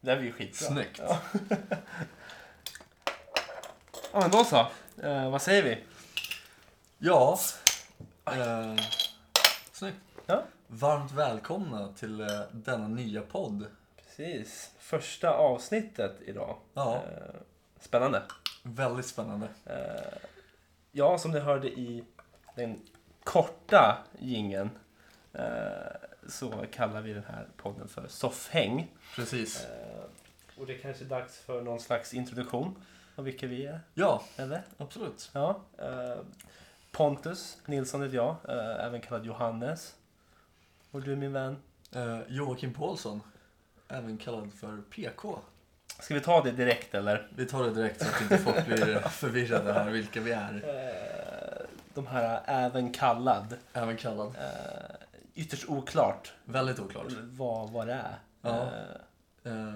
Det här blir ju skitbra. Snyggt. Ja. ja, men då så. Eh, vad säger vi? Ja. Eh, snyggt. Ja. Varmt välkomna till eh, denna nya podd. Precis. Första avsnittet idag. Ja, Eh, spännande. väldigt spännande. Eh, ja, som ni hörde i den korta gingen eh, så kallar vi den här podden för Soffhäng. Precis. Eh, och det är kanske är dags för någon slags introduktion av vilka vi är, Ja, eller? absolut. Ja, eh, Pontus Nilsson heter jag, eh, även kallad Johannes. Och du min vän? Eh, Joakim Paulsson, även kallad för PK. Ska vi ta det direkt eller? Vi tar det direkt så att inte folk blir förvirrade här vilka vi är. Eh, de här även kallad. Även kallad. Eh, ytterst oklart Väldigt oklart. vad, vad det är. Ja. Eh, Eh,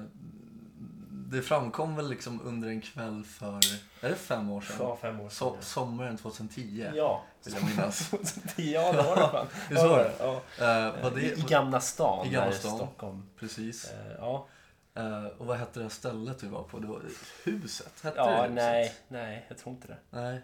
det framkom väl liksom under en kväll för, är det fem år sedan? Ja, fem år So- sedan. sommaren 2010 Ja, vill jag minnas. ja det var det fan. Visst var det? Ja. Eh, vad I, I det Gamla stan I Gamla här i stan. Stockholm. precis. Eh, ja, Eh, och vad hette det här stället vi var på? Det var huset? Hette det ja huset? nej, nej, jag tror inte det. nej.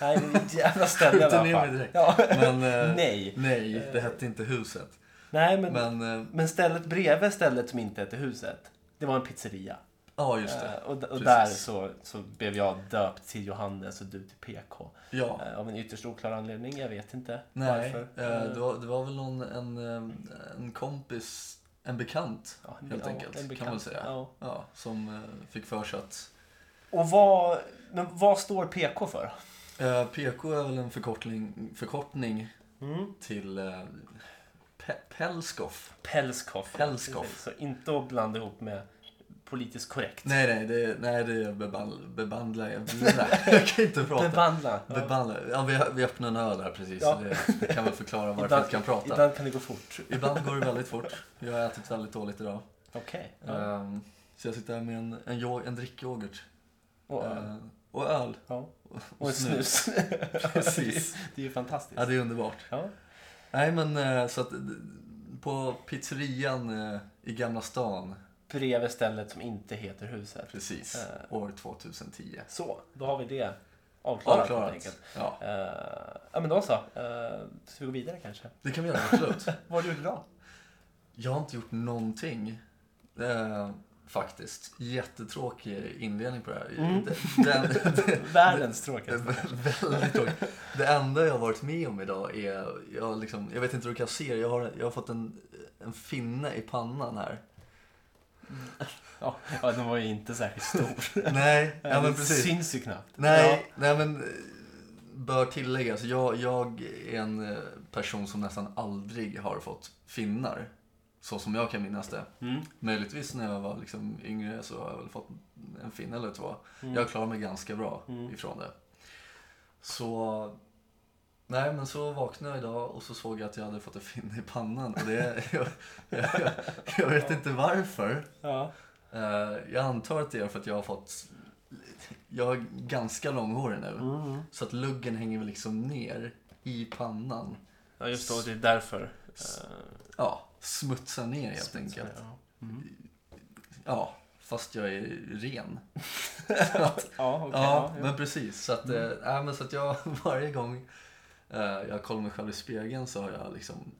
Nej, det är ett jävla ställe i Skjuter alla ner fall. mig direkt. Ja. Men, eh, Nej. nej, det Eh. hette inte huset. Nej, men, men... Men, eh, stället bredvid stället som inte hette huset, det var en pizzeria. ja just Eh, det. och d- och Precis. där så, så blev jag döpt till Johannes och du till PK. Ja. Eh, av en ytterst oklar anledning, jag vet inte Nej, eh, varför. Mm. det, var, det var väl någon, en, eh, en kompis, en bekant Ja, helt ja, enkelt, en kan man bekant. säga. Ja. Ja, som eh, fick för sig att Och vad, men vad står PK för? eh, PK är väl en förkortning, förkortning till eh, pe, Pelskoff. Pelskoff. Pelskoff. Precis, Så inte att blanda ihop med politiskt korrekt. Nej, nej, det, nej, det är bebandla, bebandla, jag kan inte prata. Bebandla. Ja. Bebandla, ja, vi, vi öppnar en öl här precis, Ja. så det, det kan väl förklara varför jag Ibland, inte kan prata. ibland kan det gå fort. Ibland går det väldigt fort, jag har ätit väldigt dåligt idag. Okej. Ja. Ehm, så jag sitter här med en, en, yo- en drickyoghurt. Och öl. Eh, och öl. Ja. Och en snus. Precis. det är ju fantastiskt. Ja, det är underbart. Ja. Nej, men eh, så att eh, på pizzerian eh, i Gamla stan, Bredvid stället som inte heter huset. precis, Eh. år 2010. Så, då har vi det avklarat helt Avklarat. enkelt. Ja, Eh, ja men då så. Eh, ska vi gå vidare kanske? det kan vi göra, absolut. Vad gjorde du idag? Jag har inte gjort någonting. Eh, faktiskt. Jättetråkig inledning på det här. Mm. Den, den, Världens tråkigaste. Väldigt tråkigt. Det enda jag har varit med om idag är, jag, liksom, jag vet inte hur du kan se det, jag har, jag har fått en, en finne i pannan här. Ja, ja, den var ju inte särskilt stor. Nej, ja, men Den precis. syns ju knappt. Nej, nej men eh, bör tilläggas, jag, jag är en eh, person som nästan aldrig har fått finnar. Så som jag kan minnas det. Ja. Mm. Möjligtvis när jag var liksom yngre så har jag väl fått en finne eller två. Mm. Jag klarar mig ganska bra Mm. ifrån det. Så... Nej, men så vaknade jag idag och så såg jag att jag hade fått en finne i pannan. Och det, jag, jag, jag vet inte varför. Ja. Eh, jag antar att det är för att jag har fått... Jag är ganska långhårig nu. Mm. Så att luggen hänger väl liksom ner i pannan. ja, just det. och Det är därför. S- eh, Ja, smutsar ner helt enkelt. Ja. Mm. Ja, fast jag är ren. Ja, okej. ja, ja, men precis. Så att, eh, nej, men så att jag varje gång eh, jag kollar mig själv i spegeln så har jag liksom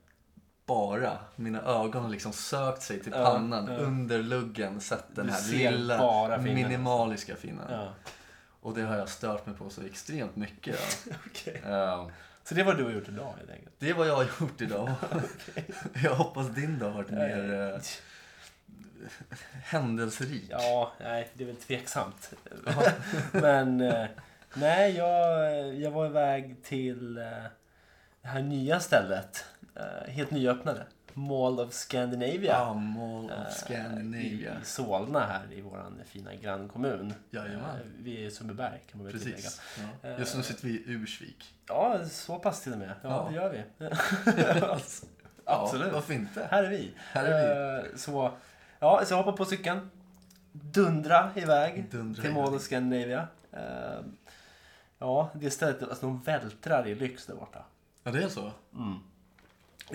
bara, mina ögon har liksom sökt sig till Ja, pannan ja. under luggen, sett den Du här ser lilla bara finnen. minimaliska finnen. Ja. Och det har jag stört mig på så extremt mycket. Ja. Okej. Eh, Så det var du har gjort idag helt enkelt? det är vad jag har gjort idag. jag hoppas din dag har varit mer eh, händelserik. Ja, nej, det är väl tveksamt. Men eh, nej, jag, jag var iväg till eh, det här nya stället. Eh, Helt nyöppnade. Mall of Scandinavia. Ah, Mall Eh, of Scandinavia. I Solna här i vår fina grannkommun. Jajamän. Eh, Vi är i Sundbyberg kan man väl tillägga. Precis. Ja. Just nu sitter vi i Ursvik. Ja, så pass till och med. Ja, Ja. det gör vi. Ja, Absolut. varför inte? Här är vi. Här är Eh, Så, ja, så jag hoppar på cykeln. Dundra iväg Dundra till iväg. Mall of Scandinavia. Eh, Ja, det stället, alltså de vältrar i lyx där borta. Ja, det är så?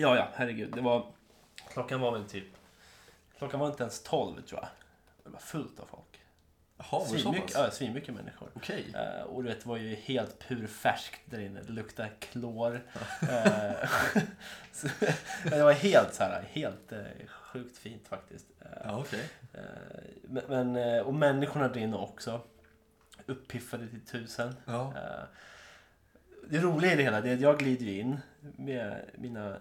Ja, ja, herregud. Det var, klockan var väl typ, klockan var inte ens 12 tror jag. Det var fullt av folk. Jaha, var det så Svinmycket, pass? ja, svinmycket människor. Okej. Eh, och du vet, det var ju helt purfärskt där inne. Det luktade klor. Eh, så- men det var helt så här, helt eh, sjukt fint faktiskt. Eh, Ja, okej. eh, men- men, eh, och människorna där inne också. Uppiffade till tusen. Ja. Eh, Det roliga i det hela det är att jag glider ju in med mina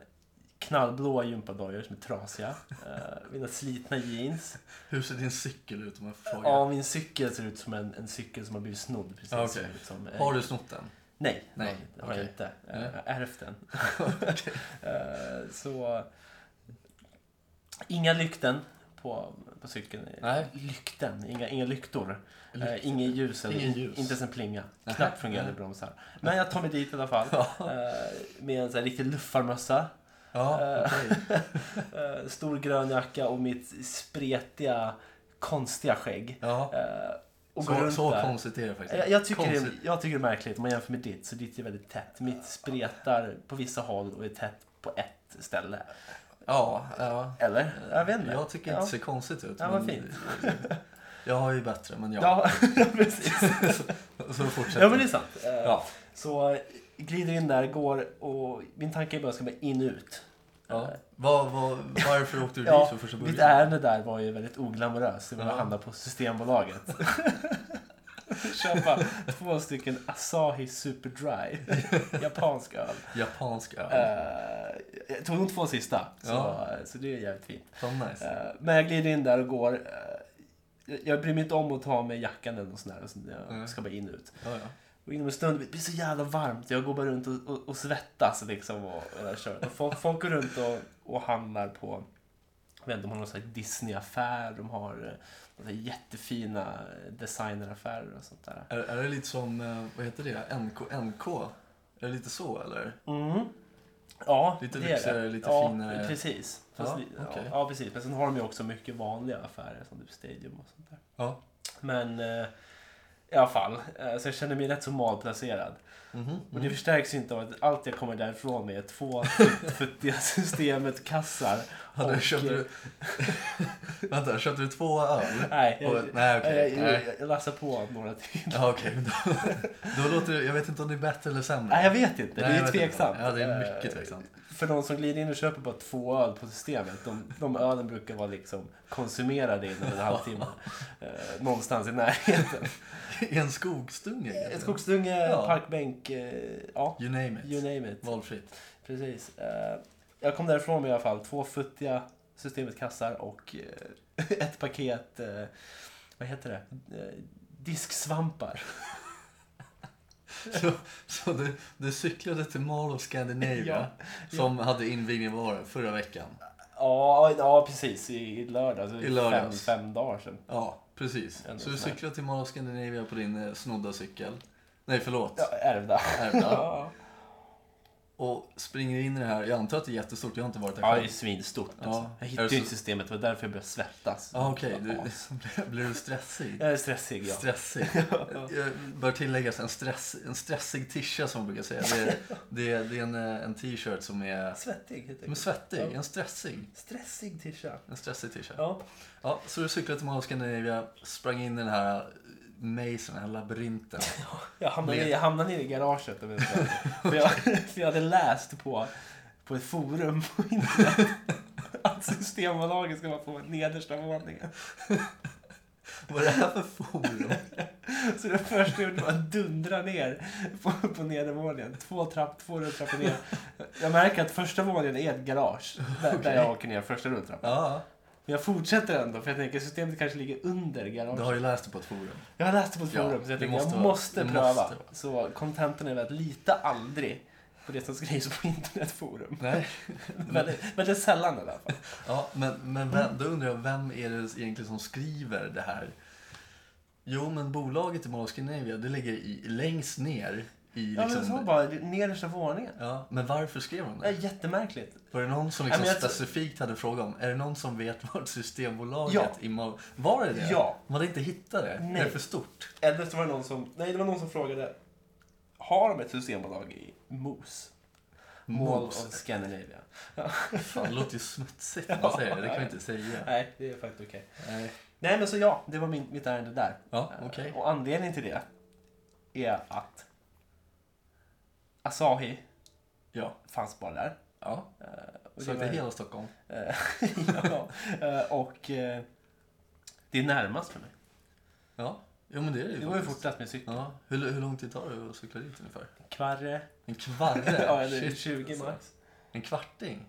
knallblåa gympadojor som är trasiga. eh, Mina slitna jeans. Hur ser din cykel ut om jag får fråga? Ja, min cykel ser ut som en, en cykel som har blivit snodd. Precis, Ja, okej. Ser ut som, eh, Har du snott den? Nej, Nej, nej det har jag okej. inte. Eh, Nej. Jag har ärvt den. Eh, Så... Inga lykten på, på cykeln. Nej. Lykten, inga, inga lyktor. Lyktor. Eh, Inget ljus, eller, Ingen ljus. inte ens en plinga. Nej. Knappt fungerande bromsar. Men jag tar mig dit i alla fall. Eh, Med en sån här riktig luffarmössa. Ja, Eh, okej. eh, Stor grön jacka och mitt spretiga, konstiga skägg. Ja. Eh, Och går Så, runt så där. konstigt är det faktiskt. Jag, jag, tycker det, Konstigt. jag tycker det är märkligt om man jämför med ditt, så ditt är väldigt tätt. Mitt spretar på vissa håll och är tätt på ett ställe. Ja, ja. Eller? Jag vet inte. Jag tycker inte ja. det ser konstigt ut. Ja, vad men- fint. Jag har ju bättre, men ja. Ja, ja precis. Så fortsätter Ja, men det är sant. Eh, Ja. Så eh, glider in där, går och min tanke är bara att jag ska bara in och ut. Ja. Vad- vad- varför åkte du Ja, dit för första början? Mitt ärende där var ju väldigt oglamoröst. Det var att Ja. handla på Systembolaget. Köpa två stycken Asahi Super Dry. Japansk öl. Japansk öl. Eh, jag tog de två sista, så, Ja. så det är jävligt fint. Fan nice. Eh, men jag glider in där och går. eh, jag- jag bryr mig inte om att ta av mig jackan eller något sånt där. och så- Jag Mm. ska bara in och ut. Ja, ja. Och inom en stund, det blir så jävla varmt. Jag går bara runt och, och, och svettas liksom. Och, och där kör. Och folk, folk går runt och, och handlar på, jag vet inte, de har någon sån här Disney-affär. De har eh, några jättefina eh, designeraffärer och sånt där. Är, är det lite som, eh, vad heter det, NKNK? Är det lite så eller? Mm. Ja, Lite det är lyxigare, det. lite ja, finare. Precis. Fast Ja, li- ja, okej. ja, precis. Men sen har de ju också mycket vanliga affärer som typ Stadium och sånt där. Ja. Men eh, i alla fall, eh, så jag känner mig rätt så malplacerad. Mhm. Och det förstärks ju inte av att allt jag kommer därifrån med är två futtiga systemet-kassar. Hade du, Och, köpte eh, du... Vänta, köpte du två öl? Nej, jag, eh, Och, nej, okej. jag, jag, nej. jag, jag lassar på några till. Ja, okej. men Då, då låter det, jag vet inte om det är bättre eller sämre. Nej, jag vet inte. Nej, det jag är ju vet inte. tveksamt. Ja, det är Eh, mycket tveksamt. För de som glider in och köper bara två öl på systemet, de, de ölen brukar vara liksom konsumerade inom en halvtimme. Eh, någonstans i närheten. I en skogsdunge? kanske? Ett skogsdunge, Ja. parkbänk, eh, ja. You name it. You name it. Valfritt. Precis. Eh, jag kom därifrån med i alla fall två futtiga systemetkassar och eh, ett paket, eh, vad heter det, eh, disksvampar. Så, så du, du cyklade till Mall of Scandinavia som hade invigning vad var det, förra veckan? Ja, ja precis. I, i lördags. I lördags. Fem, fem dagar sedan. Ja, precis. Ändå så du sån här. cyklade till Mall of Scandinavia på din eh, snodda cykel. Nej, förlåt. Ja, ärvda. Ärvda. Ja. Och springer in i det här. Jag antar att det är jättestort. Jag har inte varit där Ja, det själv. är svinstort. Ja. Alltså. Jag Är hittade det ju så- systemet, det var därför jag började svettas. Ja, Ah, okej. Jag var as. Du, blir du stressig? Jag är stressig, ja. Stressig. Jag bör tilläggas en, stress, en stressig tisha som man brukar säga. Det är, det är, det är en, eh, en t-shirt som är Svettig heter som är det. svettig. En stressig. Stressig tisha. En stressig t-shirt. Ja. Ja, så du cyklade till Mall of Scandinavia, sprang in i den här mazen, den här labyrinten. Jag hamnade, Med- jag hamnade nere i garaget. om jag ska vara ärlig. för, jag, för jag hade läst på, på ett forum på internet att Systembolaget ska vara på nedersta våningen. Vad är det här för forum? Så det första jag gjorde var att dundra ner på, på nedervåningen. Två, trapp, två rulltrappor ner. Jag märker att första våningen är ett garage där, där jag åker ner första rulltrappan. Ja, Men jag fortsätter ändå för jag tänker systemet kanske ligger under garaget. du har ju läst det på ett forum. Jag har läst det på ett Ja, forum så det jag tänkte måste jag vara- måste det pröva. måste vara. Så kontentan är väl att lita aldrig på det som skrivs på internetforum. Nej. Väldigt, väldigt sällan i alla fall. Ja, men, men vem, då undrar jag, vem är det egentligen som skriver det här? Jo, men bolaget i Mall of Scandinavia, det ligger i, längst ner i Ja, liksom... men så bara nedersta våningen. Ja, men varför skrev de Det är det? jättemärkligt. Var det någon som Nej, liksom men jag tror- specifikt hade frågat om, är det någon som vet vart Systembolaget Ja. i Mall... Var det det? Ja. Man hade inte hittat det? Nej. Är det för stort? Eller så var det någon som, nej det var någon som frågade, har de ett systembolag i Mos? Mall of Mos. Scandinavia. Fan, det låter ju smutsigt när man säger det. Det kan vi inte säga. Nej, det är faktiskt okej. Nej. Nej men så ja, det var min, mitt ärende där. Ja, Eh, okej. Och anledningen till det är att Asahi Ja. fanns bara där. ja. Och Så det det är var- hela Stockholm. Eh, ja, eh, och eh, det är närmast för mig. Ja. Jo men det är det ju Det går ju faktiskt. fortast med cykel. Ja. Hur, hur lång tid tar det att cykla dit ungefär? Kvarre, En kvarre? ja, eller Shit, 20 alltså. max. En kvarting?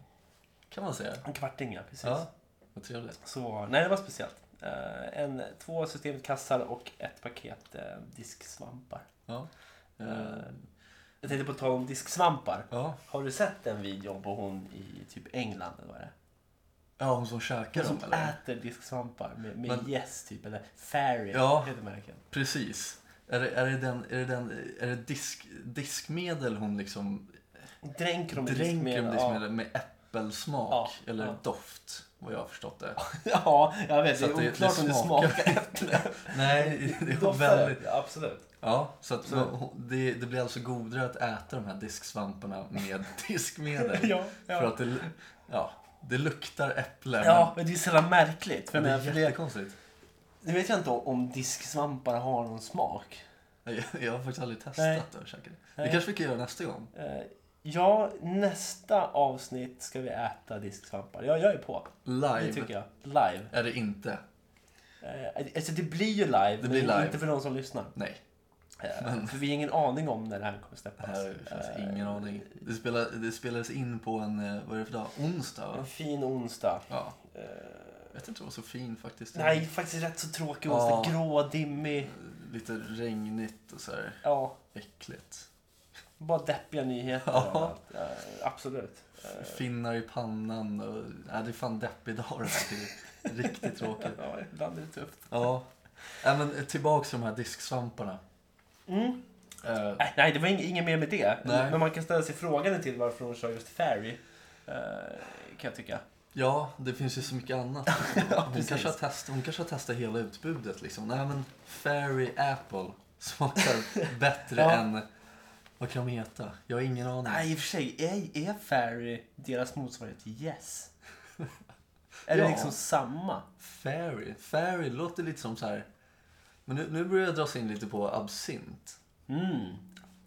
Kan man säga. En kvarting ja, precis. Ja. Vad trevligt. Så, nej det var speciellt. Eh, en, två systemkassar och ett paket eh, disksvampar. Ja. Eh, Eh, jag tänkte på tal om disksvampar. Ja. Har du sett den videon på hon i typ England eller vad det är? Ja, hon som käkar Hon dem som eller? äter disksvampar med, med Men- gäss typ, eller fairy Ja. heter märken. Precis. Är det, är det, den, är det, den, är det disk, diskmedel hon liksom Dränker dem i dränker med, diskmedel. diskmedel Ja. med äppelsmak Ja, eller ja. doft? Vad jag har förstått det. ja, jag vet. Så Det är att det- det oklart om det smakar- smakar äpple. Nej, det var Doftar det? Mm. väldigt... Ja, absolut. Ja, så att Så- man- hon- det, det blir alltså godare att äta de här disksvamparna med diskmedel. ja, ja. För att det, ja, det luktar äpple. ja, men det är så jävla märkligt. För men, jag det menar, är för det, jättekonstigt. nu vet jag inte om disksvampar har någon smak. Jag, jag har faktiskt aldrig Nej. testat det och käkat det. Det Nej. kanske vi kan göra nästa gång. Eh, Ja, nästa avsnitt ska vi äta disksvampar. Ja, jag är på. Det Live tycker jag. Live. är det inte. Eh, Alltså det blir ju live, Det men blir live. inte för de som lyssnar. Nej. Eh, För vi har ingen aning om när det här kommer släppas. Nej, det finns Eh, ingen aning. Det, spelar, det spelades in på en, eh, vad är det för dag? Onsdag En va? fin onsdag. Ja. Eh, Jag vet inte, det var så fin faktiskt. Nej, faktiskt rätt så tråkig Ja. onsdag. Grå, dimmig. Lite regnigt och så här Ja, äckligt. bara deppiga nyheter. Ja. överallt. Eh, Absolut. Eh, Finnar i pannan och... Nej, det är fan deppig dag det här. Det är riktigt tråkigt. Ja, ibland är det tufft. Ja. Nej, men eh, tillbaks till de här disksvamparna. Mm. Eh, Äh, nej, det var ing- inget mer med det. Nej. Men man kan ställa sig frågan till varför hon kör just Fairy. eh, kan jag tycka. Ja, det finns ju så mycket annat. Hon precis. kanske har, test, hon kanske har testat hela utbudet liksom. Nej men, Fairy Apple smakar bättre Ja. än... Vad kan de heta? Jag har ingen aning. Nej, i och för sig. Är, är Fairy deras motsvarighet till Yes? Är det Ja. liksom samma? Fairy. Fairy låter lite som så här... Men nu, nu börjar jag dras in lite på absint. Mm.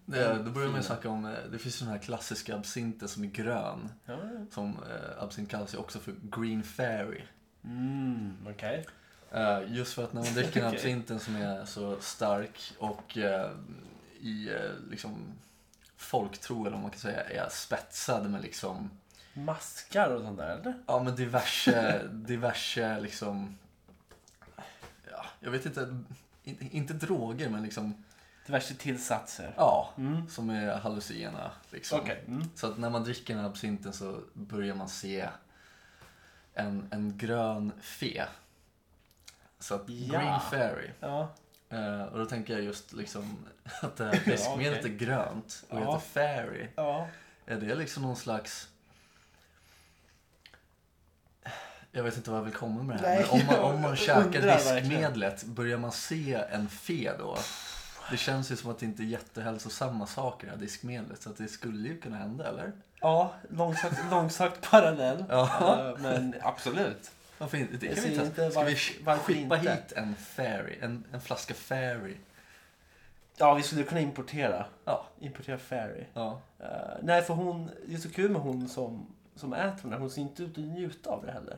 Det, Mm, då börjar man ju fina. snacka om... eh, Det finns ju den här klassiska absinten som är grön. Ja. Som eh, absint kallas ju också för green fairy. Mm, okej. Eh, just för att när man dricker den här Okej. absinten som är så stark och eh, i eh, liksom folktro eller vad man kan säga är spetsad med liksom Maskar och sånt där, eller? ja men diverse, diverse liksom ja, jag vet inte, in, inte droger men liksom Diverse tillsatser. ja, Mm. som är hallucinogena liksom. Okej. Mm. Så att när man dricker den här absinten så börjar man se en, en grön fe. Så att Ja. green fairy Ja. Eh, och då tänker jag just liksom att det här diskmedlet okej. är grönt Ja. och heter Fairy. Ja. Är det liksom någon slags... Jag vet inte vad jag vill komma med det här. Nej, men om jag man, om man undrar käkar verkligen. diskmedlet, börjar man se en fe då? Det känns ju som att det inte är jättehälsosamma saker det här diskmedlet. Så att det skulle ju kunna hända, eller? Ja, långsökt, långsökt parallell. Ja. Eh, Men absolut. Varför inte? Det Jag kan vi ser testa. inte Ska vi varför- varför skippa inte? hit en Fairy? En, en flaska Fairy? Ja, vi skulle kunna importera. Ja. Importera Fairy. Ja. Eh, nej, för hon, det är så kul med hon som, som äter den här. Hon ser inte ut att njuta av det heller.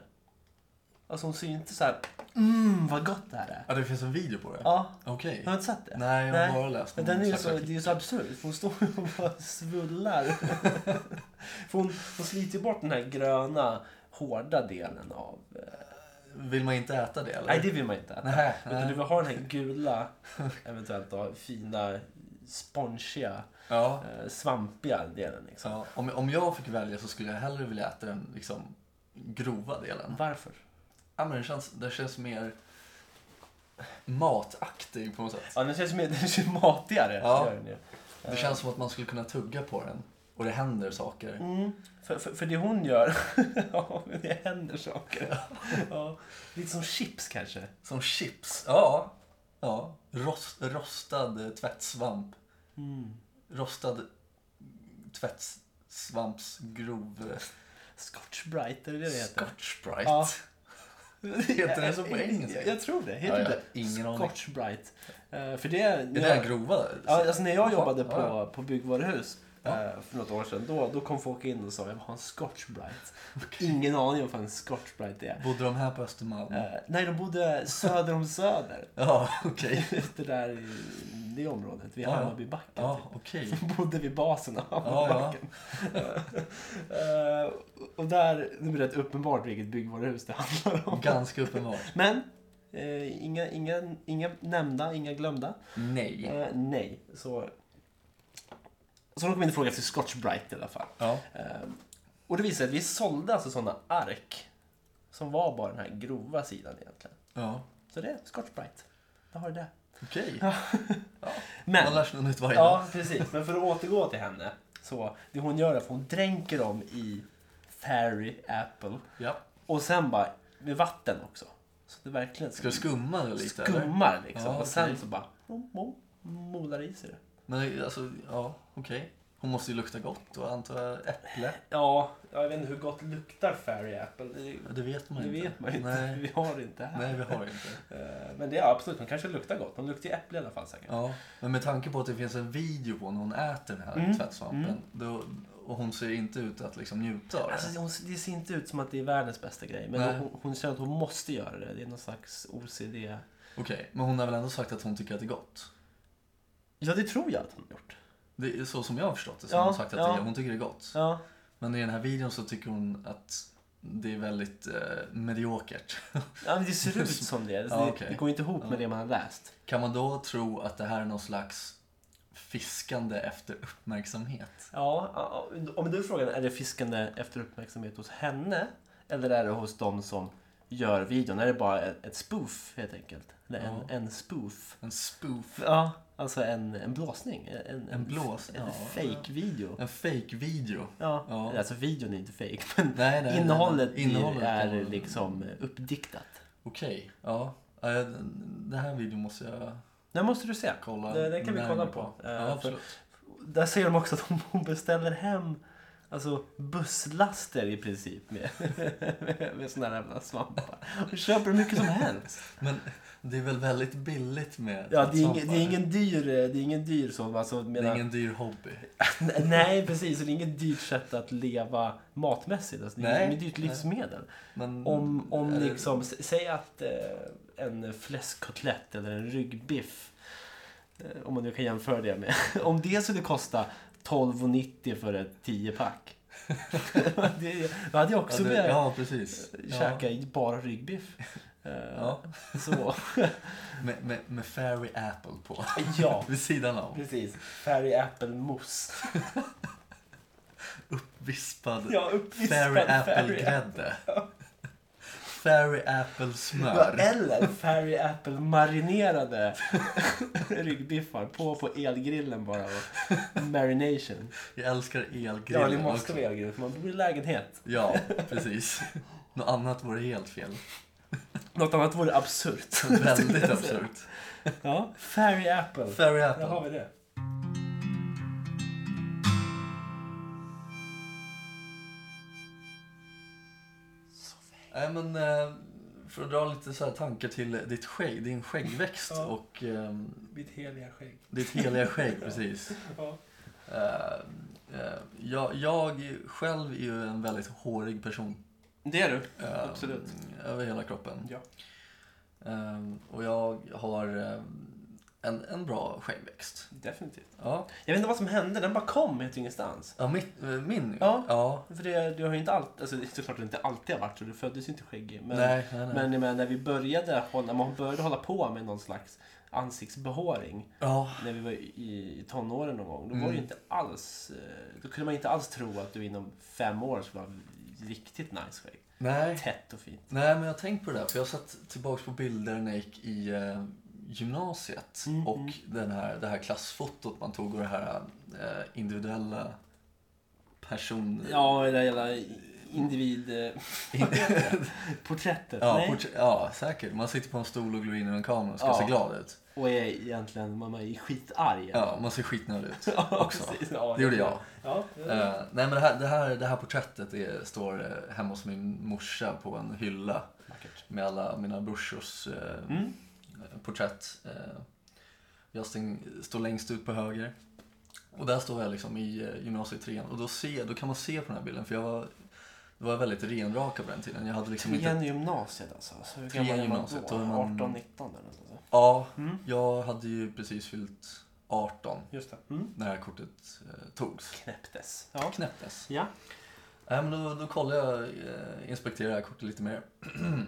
Alltså hon ser ju inte så här, mm vad gott det här är. ja, det finns en video på det? Ja, Okej. har du inte sett det? Nej, Mm, jag har Nej. bara läst Men om den är ju slags så, det är ju så absurd, för hon står ju och bara svullar. för hon, hon sliter ju bort den här gröna, hårda delen av... eh, Vill man inte äta det eller? Nej, det vill man inte äta. Nej, Utan du nej. vill ha den här gula, eventuellt då, fina, spongiga, Ja. eh, svampiga delen. Liksom. Ja. Om, om jag fick välja så skulle jag hellre vilja äta den liksom, grova delen. Varför? Ja, men den, känns, den känns mer mataktig på något sätt. Ja, den känns, mer, den känns matigare. Ja. gör den ju. Eh, Det känns som att man skulle kunna tugga på den och det händer saker. Mm, för, för, för det hon gör, ja, det händer saker. Ja, lite som chips kanske. Som chips. Ja. ja. Rost, rostad eh, tvättsvamp. Mm. Rostad tvättsvampsgrov... eh, Scotch Brite, är det det det heter? Scotch Brite. Ja. Heter den så på Jag- engelska? Jag, jag tror det. Heter Ja, ja. det Ingen aning. Scotch Bright? Eh, för det... Är det här grova? Ja, alltså när jag jobbade Ja, på, ja. på byggvaruhus Ja. eh, för något år sedan, då, då kom folk in och sa jag vill ha en Scotch Bright. Ingen aning om vad en Scotch Bright är. Bodde de här på Östermalm? Eh, nej, de bodde söder om Söder. Ja, okej. Det där i det området, vid Ja, ja. Hammarbybacken. Ja, okej. De bodde vid basen av ja. Hammarbybacken. Eh, och där, nu är det rätt uppenbart vilket byggvaruhus det handlar om. Ganska uppenbart. Men, eh, inga, inga, inga nämnda, inga glömda. Nej. Eh, nej, så... Så de kom in och frågade efter Scotch Bright i alla fall. Ja. Eh, och det visade sig att vi sålde alltså sådana ark som var bara den här grova sidan egentligen. Ja. Så det är Scotch Bright. Där har du det. Okej. Man Men, lär sig något nytt varje dag. ja precis. Men för att återgå till henne. Så det hon gör är att hon dränker dem i Fairy Apple. Ja. Och sen bara med vatten också. Så det verkligen Ska du skumma det lite? Eller? skummar liksom. Ja, och sen okej. så bara mom, mom, molar i sig det. Men alltså, ja, okej. Hon måste ju lukta gott och antar jag äpple. Ja, jag vet inte hur gott luktar Fairy Apple. Det, Ja, Det vet man det inte. vet man ju inte. Nej. Vi har det inte här. Nej, vi har inte. Eh, Men det är absolut, de kanske luktar gott. De luktar ju äpple i alla fall säkert. Ja, men med tanke på att det finns en video på när hon äter den här Mm. tvättsvampen då, och hon ser inte ut att liksom njuta av det. Alltså, hon, det ser inte ut som att det är världens bästa grej. Men Nej. hon, hon känner att hon måste göra det. Det är någon slags OCD. Okej, men hon har väl ändå sagt att hon tycker att det är gott? Ja, det tror jag att hon har gjort. Det är så som jag har förstått det så Ja, har hon sagt att ja. det, hon tycker det är gott. Ja. Men i den här videon så tycker hon att det är väldigt eh, mediokert. ja men det ser ut som det. Alltså, Ja, det, okej. det går inte ihop med det man har läst. Kan man då tro att det här är någon slags fiskande efter uppmärksamhet? Ja, ja, om du frågar är det fiskande efter uppmärksamhet hos henne? Eller är det hos de som gör videon? Är det bara ett, ett spoof helt enkelt? Eller en, en spoof? En spoof? Ja, alltså en, en blåsning. En, en, En blås- En ja. fake-video. En fake-video? Ja. Ja. alltså videon är inte fake men Nej, nej, nej, nej. innehållet, blir- Innehållet är var- liksom uppdiktat. Okej, ja. Ja, jag- Den här videon måste jag Den måste du se. kolla Det- den kan vi närmare kolla på. Eh, Ja, för- absolut. Där ser de också att hon beställer hem alltså busslaster i princip med, med, med såna här jävla svampar. Hon köper hur mycket som helst. Men det är väl väldigt billigt med Ja, det, är ingen, tvättsvampar? det, är ingen dyr, eh, det är ingen dyr så. Alltså, Det menar, är ingen dyr hobby. Nej, precis. och Det är inget dyrt sätt att leva matmässigt. Alltså, det är Nej. inget dyrt Nej. livsmedel. Men Om, om är det- liksom, s- säg att eh, en fläskkotlett eller en ryggbiff, eh, om man nu kan jämföra det med, om det skulle kosta 12,90 för ett 10-pack. det, då hade jag också eh, ja, det, börjat ja, precis. Ja. käka i bara ryggbiff. Eh, Ja, Så, med, med, med fairy apple på. ja. Vid sidan av. Precis. Fairy apple mousse. Vispad Ja, uppvispad fairy fairy apple-grädde. Fairy Ja, apple-smör. eller Fairy Apple marinerade ryggbiffar på på elgrillen bara. Och marination. Jag älskar elgrillen Ja, det måste också. vara elgrill för man bor i lägenhet. Ja, precis. Något annat vore helt fel. Något annat vore absurt. Väldigt absurt. Ja, Fairy Apple. Fairy Där har apple. vi det. Nej, men eh, för att dra lite så här tankar till ditt skägg, din skäggväxt Ja. och ehm, Mitt heliga skägg. ditt heliga skägg, precis. Ja. Eh, eh, jag, jag själv är ju en väldigt hårig person. Det är du. eh, Absolut. Över hela kroppen. Ja. Eh, och jag har eh, en, en bra skäggväxt. Definitivt. Ja, Jag vet inte vad som hände, den bara kom helt ingenstans. ja mitt, eh, min. Ja. ja. För det, du har ju inte alltid, alltså det är såklart inte alltid har varit så, du föddes ju inte skäggig. Men, nej, nej, nej. men jag menar, när vi började hålla, när man började hålla på med någon slags ansiktsbehåring. ja. när vi var i i tonåren någon gång, då var Mm. det ju inte alls... eh, Då kunde man inte alls tro att du inom fem år skulle ha riktigt nice skägg. Nej. Tätt och fint. Nej, men jag har tänkt på det där. För jag har sett tillbaka på bilder när jag gick i eh, gymnasiet. Mm, och mm. Den här, det här klassfotot man tog och det här eh, individuella person... Ja, det där jävla individporträttet. Ja, Nej. portr- ja, säkert. Man sitter på en stol och glor in i en kamera och ska Ja. se glad ut. och är egentligen, man är skitarg. Ja, man ser skitnödig ut. Ja, också. precis. Ja, Det gjorde jag. Ja, Eh, nej, men det här, det här, det här porträttet är, står eh, hemma hos min morsa på en hylla. vackert. med alla mina brorsors eh, Mm. porträtt. Eh, jag stäng, står längst ut på höger. Och där står jag liksom i eh, gymnasietrean och då, ser, då kan man se på den här bilden för jag var, jag var väldigt renrakad på den tiden. Jag hade liksom inte... Trean i gymnasiet alltså. Så hur Trean gammal i är man gymnasiet, då? då är man- 18, 19 eller något sånt. där. Ja, Mm. jag hade ju precis fyllt 18 Just det. Mm. när det här kortet eh, togs. Knäpptes. Ja. Knäpptes. ja. Nej, men då, då kollade jag, eh, inspekterade det här kortet lite mer.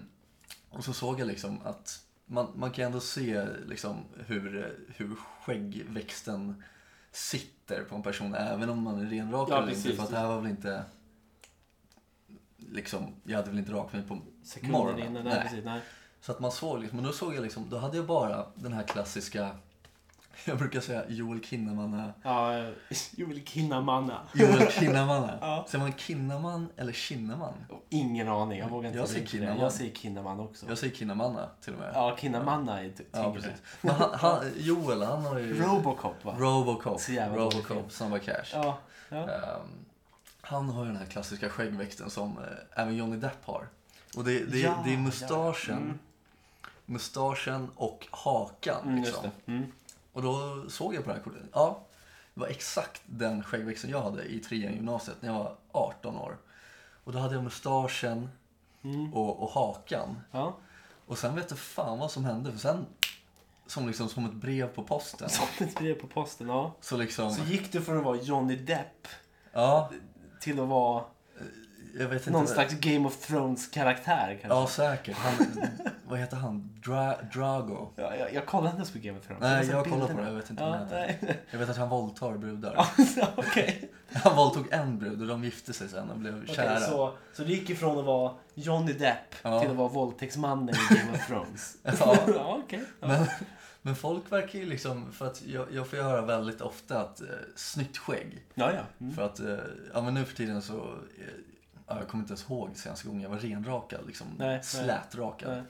och så såg jag liksom att man, man kan ändå se liksom hur, eh, hur skäggväxten sitter på en person även om man är renrakad Ja, eller inte. precis, För att det här var väl inte... Liksom, jag hade väl inte rakat mig på... Sekunden Morgonen. innan. Nej, Nej. precis. Nej. Så att man såg liksom, men då såg jag liksom, då hade jag bara den här klassiska, jag brukar säga Joel Kinnamanna Ja, eh, Joel Kinnamanna. Joel Kinnamanna. Ja. Säger man Kinnaman eller Kinnaman? Och Ingen aning. Jag vågar inte Jag säger tänka på det. Kinnaman. Jag säger Kinnaman också. Jag säger Kinnamanna till och med. Ja, Kinnamanna är typ Ja, precis. Men han, han, Joel, han har ju... Robocop va? Robocop. Så jävla dålig film. Robocop, Snabba Cash. ja. ja. Ehm, han har ju den här klassiska skäggväxten som eh, även Johnny Depp har. Och det, det, Ja, det är ja, ja. mustaschen, Mm. mustaschen och hakan. Mm, just liksom. det. Mm. Och då såg jag på det här kortet. Ja, det var exakt den skäggväxten jag hade i trean i gymnasiet när jag var 18 år. Och då hade jag mustaschen Mm. och, och hakan. Ja. Och sen vet du fan vad som hände för sen, som liksom som ett brev på posten. Som ett brev på posten, ja. Så liksom, Så gick du från att vara Johnny Depp ja, till att vara jag vet inte. någon slags Game of Thrones-karaktär kanske? Ja, säkert. Han, vad heter han? Dra, Drago. Ja, jag, jag kollar inte ens på Game of Thrones. Nej, ser jag kollar på Alltså, bilderna. det. Jag vet inte vad Ja, han heter. nej. Jag vet att han våldtar brudar. Alltså, Okej. Han våldtog en brud och de gifte sig sen och blev Okej, kära. så, så det gick ifrån att vara Johnny Depp Ja. till att vara våldtäktsmannen i Game of Thrones? Ja. ja okej. Ja. Men, men folk verkar ju liksom, för att jag, jag får ju höra väldigt ofta att eh, snyggt skägg. Ja, ja. Mm. För att, eh, ja men nu för tiden så, eh, ja, jag kommer inte ens ihåg senaste gången jag var renrakad. Liksom, Nej, nej. slätrakad. Nej.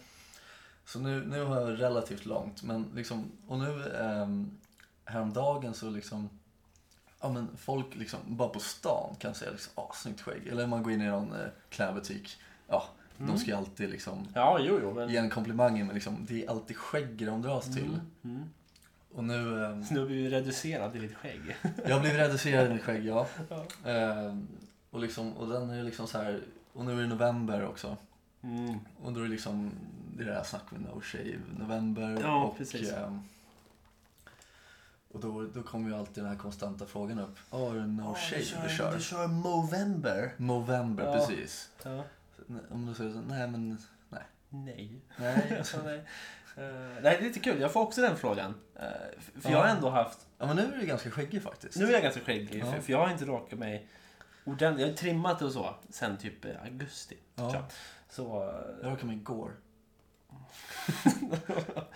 Så nu, nu har jag relativt långt. Men liksom, och nu ehm, häromdagen så liksom, ja men folk liksom bara på stan kan säga liksom, ah, snyggt skägg. Eller man går in i någon eh, klädbutik. Ja, de ska ju alltid liksom Ja, jo, jo. Mm. Men... ge en komplimang men liksom, det är alltid skägg de dras till. Mm. Och nu, ehm, Så nu blir vi reducerade i ditt skägg. jag blev reducerad i mitt skägg ja. Ja. Ehm, och, liksom, och den är liksom så här, och nu är det november också. Mm. Och då är det liksom det där snacket med No Shave November. Ja, och, precis. ehm, och då, då kommer ju alltid den här konstanta frågan upp. Ja, är det No Shave du kör? kör Movember. November, Ja. precis. Ja. Nej, Om du säger så, nej men Nej. nej. Alltså, nej. Eh, nej, det är lite kul. Jag får också den frågan. Eh, f- för jag har Ja. ändå haft... Ja men nu är du ganska skäggig faktiskt. Nu är jag ganska skäggig, Ja. för, för jag har inte rakat mig ordentligt. Jag har trimmat och så sen typ eh, augusti. Ja. tror jag. Så... eh, Jag rakade mig igår.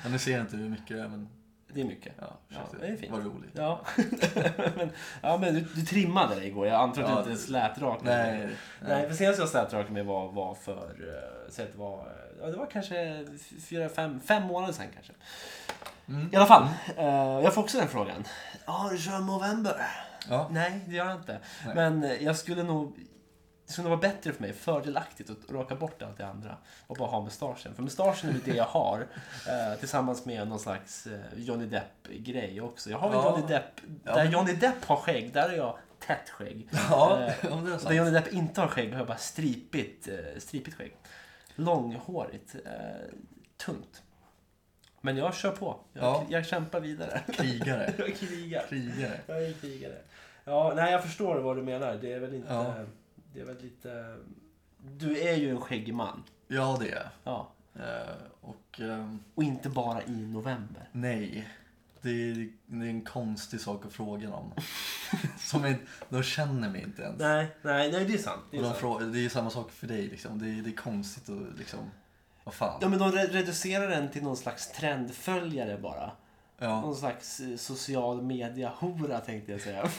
ja, nu ser jag inte hur mycket det är men Det är mycket. ja, ursäkta. det är fint. Vad roligt. Ja, men, ja, men du, du trimmade dig igår. Jag antar att Ja, du det- inte slätrakade dig. Nej, Nej, för senast jag slätrakade mig var, var för... eh, Så att det, var, eh, ja, det var kanske fyra, fem, fem månader sedan kanske. Mm. I alla fall, eh, jag får också den frågan. Ja, du kör november? Ja. Nej, det gör jag inte. Nej. Men eh, jag skulle nog... Det skulle nog vara bättre för mig, fördelaktigt, att raka bort allt det andra och bara ha mustaschen. För mustaschen är väl det jag har eh, tillsammans med någon slags eh, Johnny Depp-grej också. Jag har väl Ja. Johnny Depp... Ja, Där men- Johnny Depp har skägg, där är jag tätt skägg. Ja, Eh, om det är sant. Där Johnny Depp inte har skägg har jag bara stripigt, eh, stripigt skägg. Långhårigt. Eh, tunt. Men jag kör på. Jag, Ja. jag kämpar vidare. Krigare. Jag krigar. Krigare. Jag är krigare. Ja, nej, jag förstår vad du menar. Det är väl inte... Ja. Det är väl lite... Du är ju en skäggig man. Ja, det är Ja. jag. Eh, Och ehm, Och inte bara i november. nej. Det är, det är en konstig sak att fråga någon. Som inte, de känner mig inte ens. Nej, nej, nej det är sant. Det Och är de sant. frågar, det är ju samma sak för dig liksom. Det är, det är konstigt och liksom, vad fan. Ja, men de re- reducerar den till någon slags trendföljare bara. Ja, Någon slags eh, social media-hora tänkte jag säga.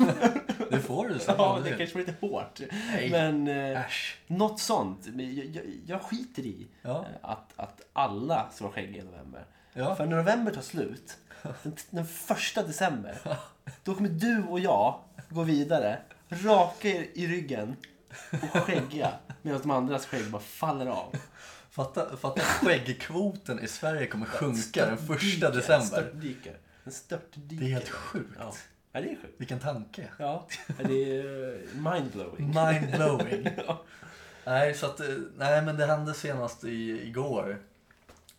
det får du säga. Ja, om du det vill. kanske var lite hårt. Nej. Men eh, Äsch. något sånt. Men Jag, jag, jag skiter i Ja. eh, att, att alla ska vara skäggiga i november. Ja. För när november tar slut, den, den första december, då kommer du och jag gå vidare, raka er i ryggen och skäggiga. Medan de andras skägg bara faller av. Fatta, fatta att skäggkvoten i Sverige kommer sjunka den första december. Störtdyker. En störtdyker. Det är helt sjukt. Ja. ja, det är sjukt. Vilken tanke. Ja, det är eh, mindblowing. Mindblowing. Ja. Nej, så att, eh, nej, men det hände senast i, igår.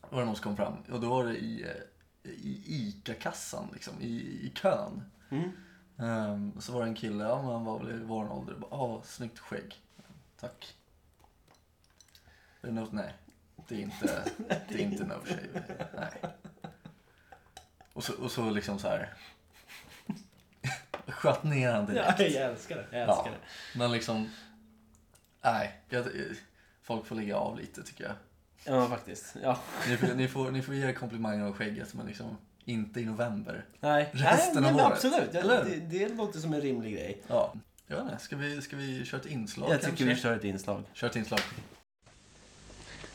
Var det någon som kom fram. Och då var det i, eh, i ICA-kassan, liksom, i, i kön. Mm. Ehm, och så var det en kille, ja, men han var väl i vår ålder. Bara, Åh, snyggt skägg. Tack. Är det något? Nej. Det är inte, det är inte no shave. Nej. Och så, och så liksom så här. Sköt ner han direkt. Ja, jag älskar det. Jag älskar Ja. Men liksom, nej. Jag, folk får lägga av lite tycker jag. det. Ja, faktiskt. Ja. Ni får, ni får, ni får ge er komplimanger om skägget men liksom inte i november. Nej, Resten Nej, av men året, Absolut, ja, eller det, det låter som en rimlig grej. Ja. Jag vet inte, ska vi, ska vi köra ett inslag Jag tycker kanske? vi kör ett inslag. Kör ett inslag.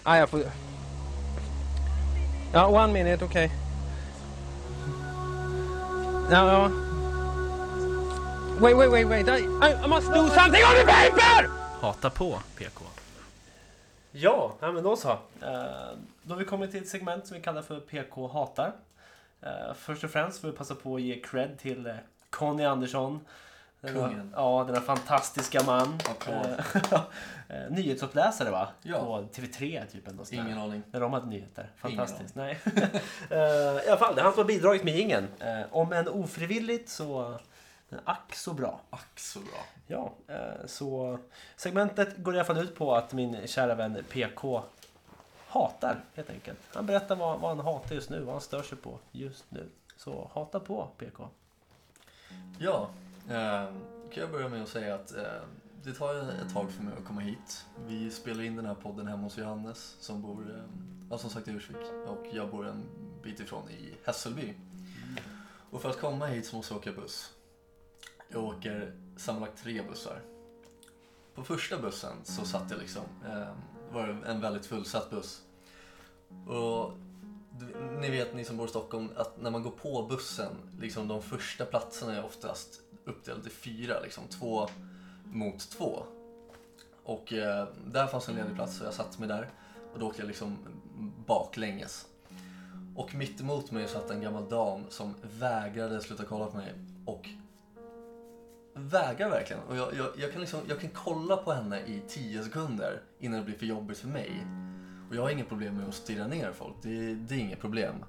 Ah, jag får... Ja, one minute, okej. Ja, ja. Wait, wait, wait, wait. I, I must do something on the paper! Hata på PK. Ja, nej, men då så. Eh, Då har vi kommit till ett segment som vi kallar för PK hatar. Eh, Först och främst får vi passa på att ge cred till eh, Conny Andersson. Denna- Kungen. Ja, denna fantastiska man. Applåd. Eh, eh, Nyhetsuppläsare va? Ja. På TV3 typ. Ändå, Ingen aning. När de hade nyheter. Fantastiskt. Ingen Nej. Eh, I alla fall, det är han som har bidragit med ingen. Eh, Om än ofrivilligt så eh, ack så bra. Ack så bra. Ja, eh, så segmentet går i alla fall ut på att min kära vän PK hatar helt enkelt. Han berättar vad, vad han hatar just nu, vad han stör sig på just nu. Så hata på PK. Ja, eh, kan jag börja med att säga att eh, det tar ju ett tag för mig att komma hit. Vi spelar in den här podden hemma hos Johannes som bor, eh, ja, som sagt i Ursvik och jag bor en bit ifrån i Hässelby. Och för att komma hit så måste jag åka buss. Jag åker sammanlagt tre bussar. På första bussen så satt jag liksom, eh, var det en väldigt fullsatt buss. Och du- ni vet ni som bor i Stockholm att när man går på bussen, liksom de första platserna är oftast uppdelade i fyra, liksom två mot två. Och eh, där fanns en ledig plats så jag satte mig där och då åkte jag liksom baklänges. Och mitt emot mig satt en gammal dam som vägrade sluta kolla på mig och vägrar verkligen. Och jag, jag, jag, kan liksom, jag kan kolla på henne i tio sekunder innan det blir för jobbigt för mig. Och jag har inget problem med att stirra ner folk, det, det är inget problem.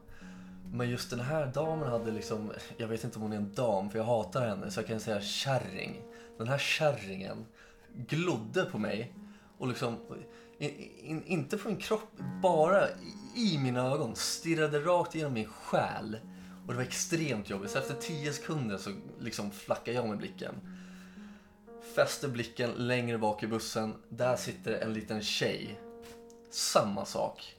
Men just den här damen hade liksom, jag vet inte om hon är en dam för jag hatar henne, så jag kan säga kärring. Den här kärringen glodde på mig och liksom, i- i- inte på min kropp, bara i- i mina ögon, stirrade rakt igenom min själ. Och det var extremt jobbigt, så efter tio sekunder så liksom flackade jag med blicken. Fäster blicken längre bak i bussen, där sitter en liten tjej samma sak.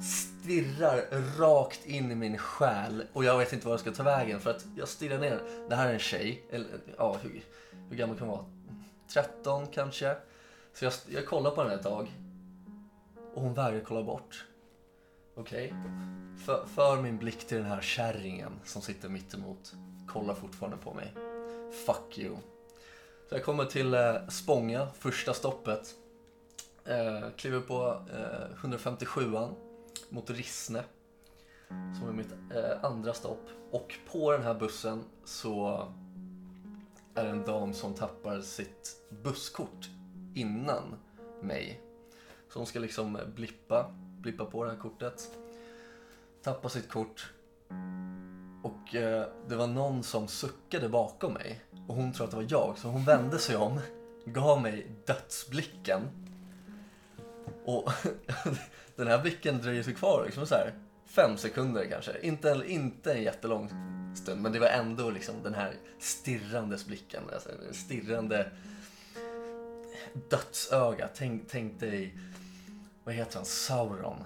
Stirrar rakt in i min själ och jag vet inte var jag ska ta vägen för att jag stirrar ner. Det här är en tjej, eller ja, hur, hur gammal kan hon vara? 13 kanske. Så jag, jag kollar på henne ett tag och hon vägrar kolla bort. Okej. För, för min blick till den här kärringen som sitter mitt emot. Kollar fortfarande på mig. Fuck you. Så jag kommer till eh, Spånga, första stoppet. Eh, kliver på eh, 157an mot Rissne. Som är mitt eh, andra stopp. Och på den här bussen så är det en dam som tappar sitt busskort innan mig. Så hon ska liksom blippa, blippa på det här kortet. Tappa sitt kort. Och eh, det var någon som suckade bakom mig. Och hon tror att det var jag, så hon vände sig om. Gav mig dödsblicken. Och den här blicken dröjer sig kvar liksom så här fem sekunder kanske. Inte en, inte en jättelång stund, men det var ändå liksom den här stirrandes blicken. Alltså, den stirrande dödsöga. Tänk, tänk dig, vad heter han, Sauron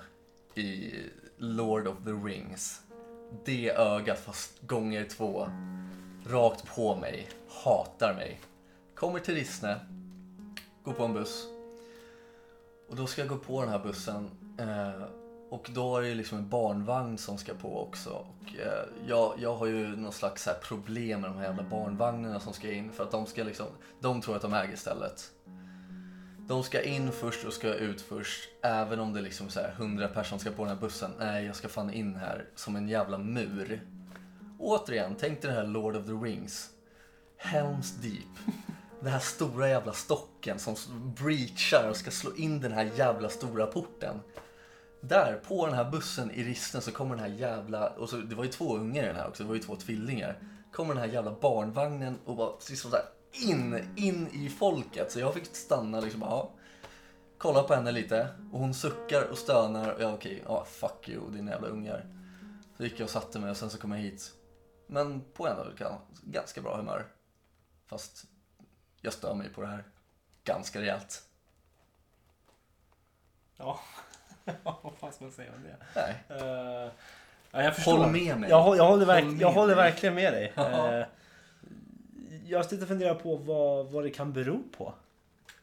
i Lord of the Rings. Det ögat fast gånger två. Rakt på mig, hatar mig. Kommer till Rissne, går på en buss. Och då ska jag gå på den här bussen. Eh, och då är det liksom en barnvagn som ska på också. Och, eh, jag, jag har ju någon slags så här problem med de här jävla barnvagnarna som ska in. För att de ska liksom, de tror att de äger stället. De ska in först och ska ut först. Även om det är liksom så här 100 personer ska på den här bussen. Nej, jag ska fan in här som en jävla mur. Återigen, tänk dig det här Lord of the Rings. Helms Deep. Den här stora jävla stocken som breachar och ska slå in den här jävla stora porten. Där, på den här bussen i risten så kommer den här jävla, och så, det var ju två ungar i den här också, det var ju två tvillingar. Kommer den här jävla barnvagnen och bara liksom så här, in, in i folket. Så jag fick stanna liksom, ja. Kolla på henne lite och hon suckar och stönar och jag okej, ja fuck you dina jävla ungar. Så gick jag och satte mig och sen så kom jag hit. Men på ändå ganska bra humör. Fast jag stör mig på det här ganska rejält. Ja, vad fan ska man säga om det? Nej. Eh, ja, jag förstår. Håll med mig. Jag, hå- jag, håller, verk- Håll med jag håller mig. verkligen med dig. Ja. Eh, jag sitter och funderar på vad, vad det kan bero på.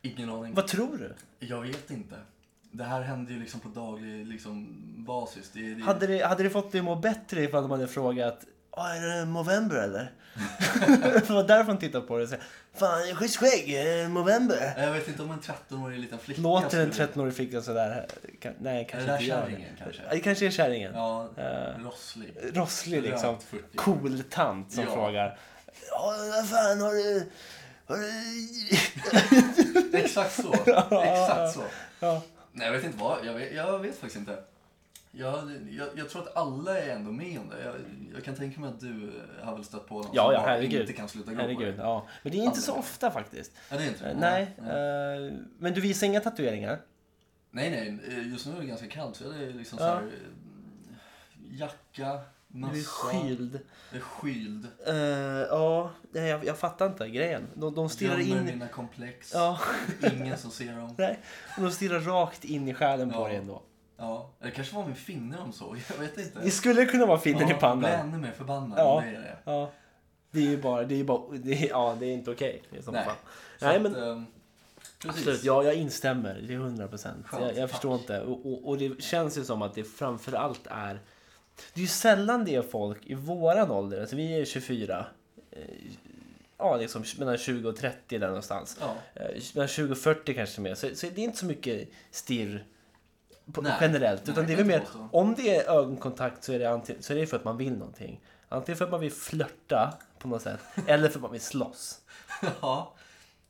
Ingen aning. Vad tror du? Jag vet inte. Det här händer ju liksom på daglig liksom, basis. Det, det... Hade det, hade det fått dig att må bättre ifall de hade frågat "Ja, är det november eller? det var därför de tittade på det och sa Fan, schysst skägg, eh, november. Jag vet inte om en 13-årig liten flicka Låter en skulle- 13-årig flicka sådär? Kan- Nej, Är det kanske där inte gör det. kärringen kanske? Ja, Det kanske är kärringen. Ja, Eh, rosslig. Rosslig liksom. Rökt 40. Cool tant som Ja. frågar. Ja, vad fan har du... Har du... Exakt så. Exakt så. ja. Nej, jag vet inte vad. Jag vet, jag vet faktiskt inte. Jag, jag, jag tror att alla är ändå med om det. Jag, jag kan tänka mig att du har väl stött på någon Ja, som ja, bara herregud. inte kan sluta gå Herregud, på det. ja. Men det är inte Aldrig. så ofta faktiskt. Ja, det är inte det. Eh, Nej, eh, men du visar inga tatueringar? Nej, nej. eh, Just nu är det ganska kallt så jag är liksom Ja. så här, eh, jacka, mössa. Du är skyld. Det är skyld. Eh, ja, nej, jag, jag fattar inte grejen. De, de stirrar Gömmer in... mina komplex. Ja, Ingen som ser dem. nej. Och De stirrar rakt in i själen på Ja. dig ändå. Ja. Det kanske var min finne de såg. Jag vet inte. Det skulle kunna vara Ja, finnen i Jag blir pannan. ännu mer förbannad. Ja. Det är det. Ja. Det är ju bara... Det är ju bara det är, ja, det är inte okej i så Nej. fall. Så Nej, att, men- ehm, precis. Absolut, ja, jag instämmer. Det är 100 procent. Skönt, Jag, jag tack. förstår inte. Och, och, och det känns ju som att det framförallt är... Det är ju sällan det är folk i våran ålder, alltså vi är 24. eh, Ja, liksom mellan 20 och 30 där någonstans. Ja. Eh, Mellan 20 och 40 kanske mer. Så, så det är inte så mycket stirr på, Nej, generellt. nej, Utan det är väl kan mer, inte påstå. om det är ögonkontakt så är det, anti, så är det för att man vill någonting. Antingen för att man vill flörta på något sätt, eller för att man vill slåss. ja.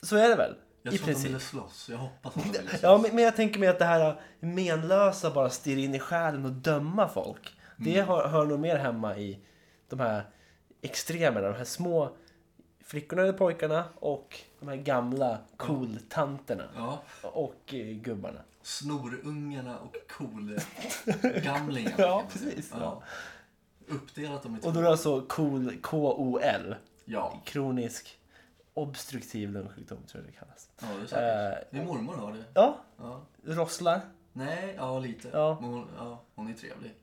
Så är det väl? Jag I tror att de princip. ville slåss. Jag hoppas att de ville slåss. Ja, men, men jag tänker mig att det här äh, menlösa bara stirra in i själen och döma folk. Mm. Det hör, hör nog mer hemma i de här extremerna, de här små flickorna eller pojkarna och de här gamla cool-tanterna Ja. och eh, gubbarna. Snorungarna och cool-gamlingarna. Ja, precis, ja. Ja. Uppdelat dem i två. Och då är det alltså cool, KOL, Ja, kronisk obstruktiv lungsjukdom tror jag det kallas. ja det är Eh, säkert. Min mormor har det. Ja, Ja. rosslar. Nej, ja lite. Ja. Men hon, ja, hon är trevlig.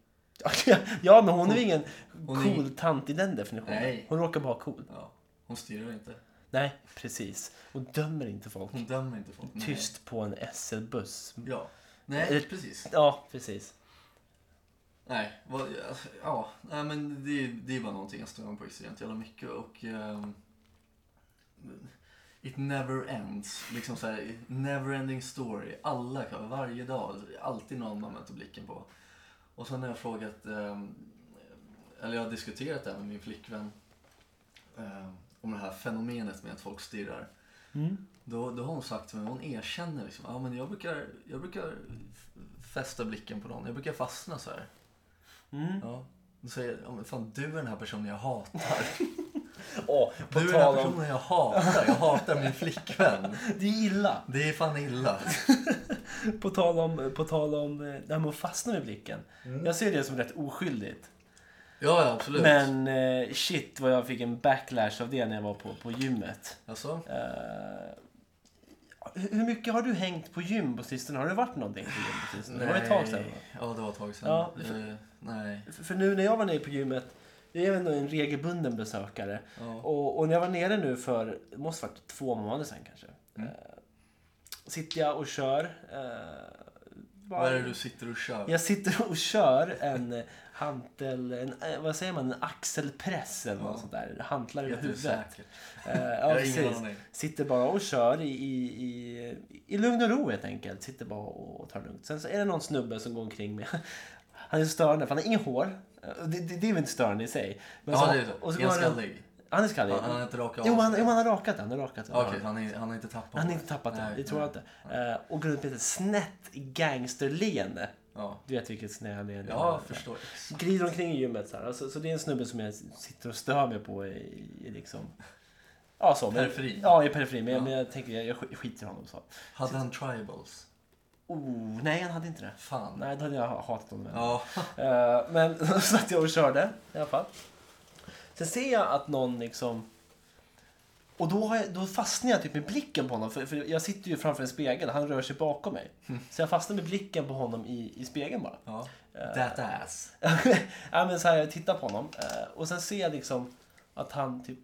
Ja, men hon är ju ingen hon är- cool tant i den definitionen. Nej. Hon råkar bara ha cool. Ja. Hon styr inte. Nej, precis. Och dömer inte folk. Hon dömer inte folk. Nej. Tyst på en SL-buss. Ja. Nej, Eller- precis. Ja, precis. Nej, vad, ja, nej men det, det är bara någonting jag stör mig på extremt jävla mycket och... ehm, it never ends. Liksom såhär, never ending story. Alla, kan- varje dag. alltså, Alltid någon man möter blicken på. Och sen har jag frågat, ehm, eller jag har diskuterat det här med min flickvän. ehm, om det här fenomenet med att folk stirrar. Mm. Då, då har hon sagt till mig, hon erkänner liksom, ja men jag brukar, jag brukar f- fästa blicken på någon. Jag brukar fastna så här. Mm. Ja. Då säger jag, "Ja, men fan du är den här personen jag hatar. Åh, på Du är den här tal om... personen jag hatar. Jag hatar min flickvän. Det är illa. Det är fan illa. På tal om, på tal om eh, det här med att fastna med blicken. Jag ser det som rätt oskyldigt. Ja, ja Mm. absolut. Men eh, shit vad jag fick en backlash av det när jag var på, på gymmet. Alltså, Eh, hur hur mycket har du hängt på gym på sistone? Har det varit någonting på gym på sistone? Det var ett tag sedan. va? Ja, det var ett tag sedan. Ja. Eh, nej. För för nu när jag var nere på gymmet, jag är ändå en regelbunden besökare. Ja. Och, och när jag var nere nu för, det måste ha Mm. varit två månader sedan kanske. Eh, sitter jag och kör eh, Vad är det du sitter och kör? Jag sitter och kör en eh, hantel, en, eh, vad säger man, en axelpress eller något Ja. sånt där. Hantlar över huvudet. Jättesäkert. Eh, Jag ja, har precis. ingen aning. Sitter bara och kör i, i, i, i lugn och ro helt enkelt. Sitter bara och, och tar det lugnt. Sen så är det någon snubbe som går omkring med, han är så störande för han har inget hår. Eh, Det, det, det är väl inte störande i sig. Men Ja, så- det är så. och så Är han går han- skallig? Han är skallig. Han- han har inte rakat av Jo, han, sig. jo, han har rakat den. Han har rakat den. Okej, han, är- han har inte tappat Han har det. inte tappat den, Nej, det tror jag inte. Eh, och går runt med ett snett gangsterleende. Ja, Du vet vilket snäleende ja jag förstår. Glider omkring i gymmet så här. Alltså, så det är en snubbe som jag sitter och stör mig på i, i liksom... Ja, så. Men, Periferin. Ja, i periferin. Men, jag- Ja. men jag tänker, jag, jag sk- skiter i honom så. Hade han tribals? Oh, nej, han hade inte det. Fan. Nej, då hade jag ha- hatat honom. ännu. Ja, Eh, men så satt jag och körde i alla fall. Sen ser jag att någon liksom... Och då, har jag, då fastnar jag typ med blicken på honom. För, för jag sitter ju framför en spegel. Han rör sig bakom mig. Så jag fastnar med blicken på honom i, i spegeln bara. ja. Eh. That ass. ja, men så här, jag tittar på honom eh, och sen ser jag liksom att han typ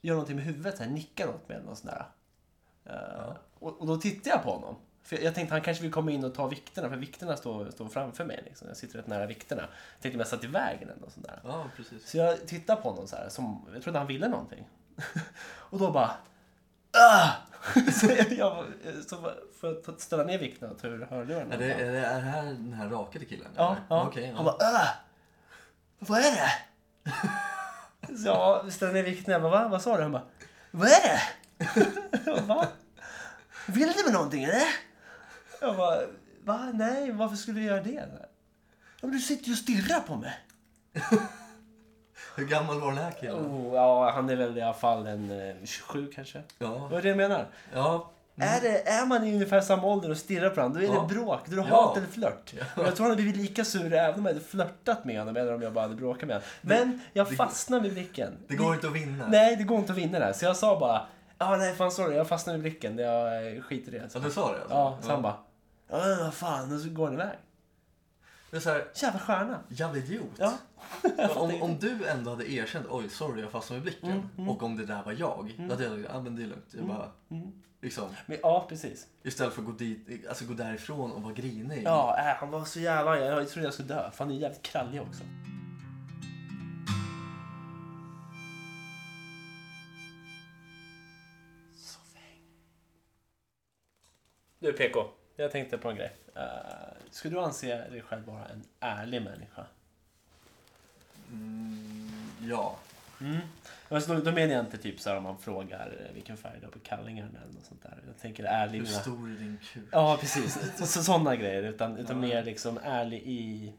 gör någonting med huvudet, så här, nickar åt mig eller något sånt där. Eh, och, och då tittar jag på honom. För jag, jag tänkte han kanske vill komma in och ta vikterna, för vikterna står, står framför mig. Liksom. Jag sitter rätt nära vikterna. Jag tänkte om jag satt i vägen eller något sånt där. Ja, precis. Så jag tittar på honom så här, som, jag trodde han ville någonting. och då bara... Ah! så jag, jag, så för att ta- ställa ner vikterna och ta ur hörlurarna. Är det, är, det, är det här den här rakade killen? Ja, eller? ja. Okej, Han ja. bara äh, Vad är det? Så jag ställde ner vikten jag bara Va? Vad sa du? Han bara Vad är det? Jag bara, Va? Vill du med någonting eller? Jag bara Va? Nej, varför skulle du göra det? Ja, men du sitter ju och stirrar på mig. Hur gammal var den här killen? Oh, ja, han är väl i alla fall en eh, 27 kanske. Ja, Vad är det jag menar? ja. Är, det, är man i ungefär samma ålder och stirrar på varandra, då är Mm. Ja. det bråk. Då är det Ja. hat eller flört. Och jag tror han hade blivit lika sur även om jag hade flörtat med honom eller om jag bara hade bråkat med honom. Men jag fastnade vid blicken. Det går inte att vinna. Nej, det går inte att vinna det här. Så jag sa bara, ja nej fan sorry, jag fastnade vid blicken. Jag eh, skiter i det. Ja, Så, du sa det? Alltså. ja, så han bara, ja men vad fan, och så går han iväg. Det är så här, Jävla stjärna. jävla idiot. Ja. om, om du ändå hade erkänt, oj sorry jag fastnade med blicken. Mm, Och om det där var jag, då hade jag sagt, ah, men det är lugnt. Jag bara, mm. liksom, Men, ja, precis. istället för att gå, dit, alltså, gå därifrån och vara grinig. Ja, äh, han var så jävla arg. Jag trodde jag skulle dö. För han är jävligt krallig också. Du PK, jag tänkte på en grej. Uh, skulle du anse dig själv vara en ärlig människa? Mm, ja. Alltså, då, då menar jag inte typ så här om man frågar eh, vilken färg du har på kallingarna eller något sånt där. Jag tänker ärlig. Hur med- stor är din kuk? Ja, precis. Så, sådana grejer. Utan, utan mer liksom ärlig i,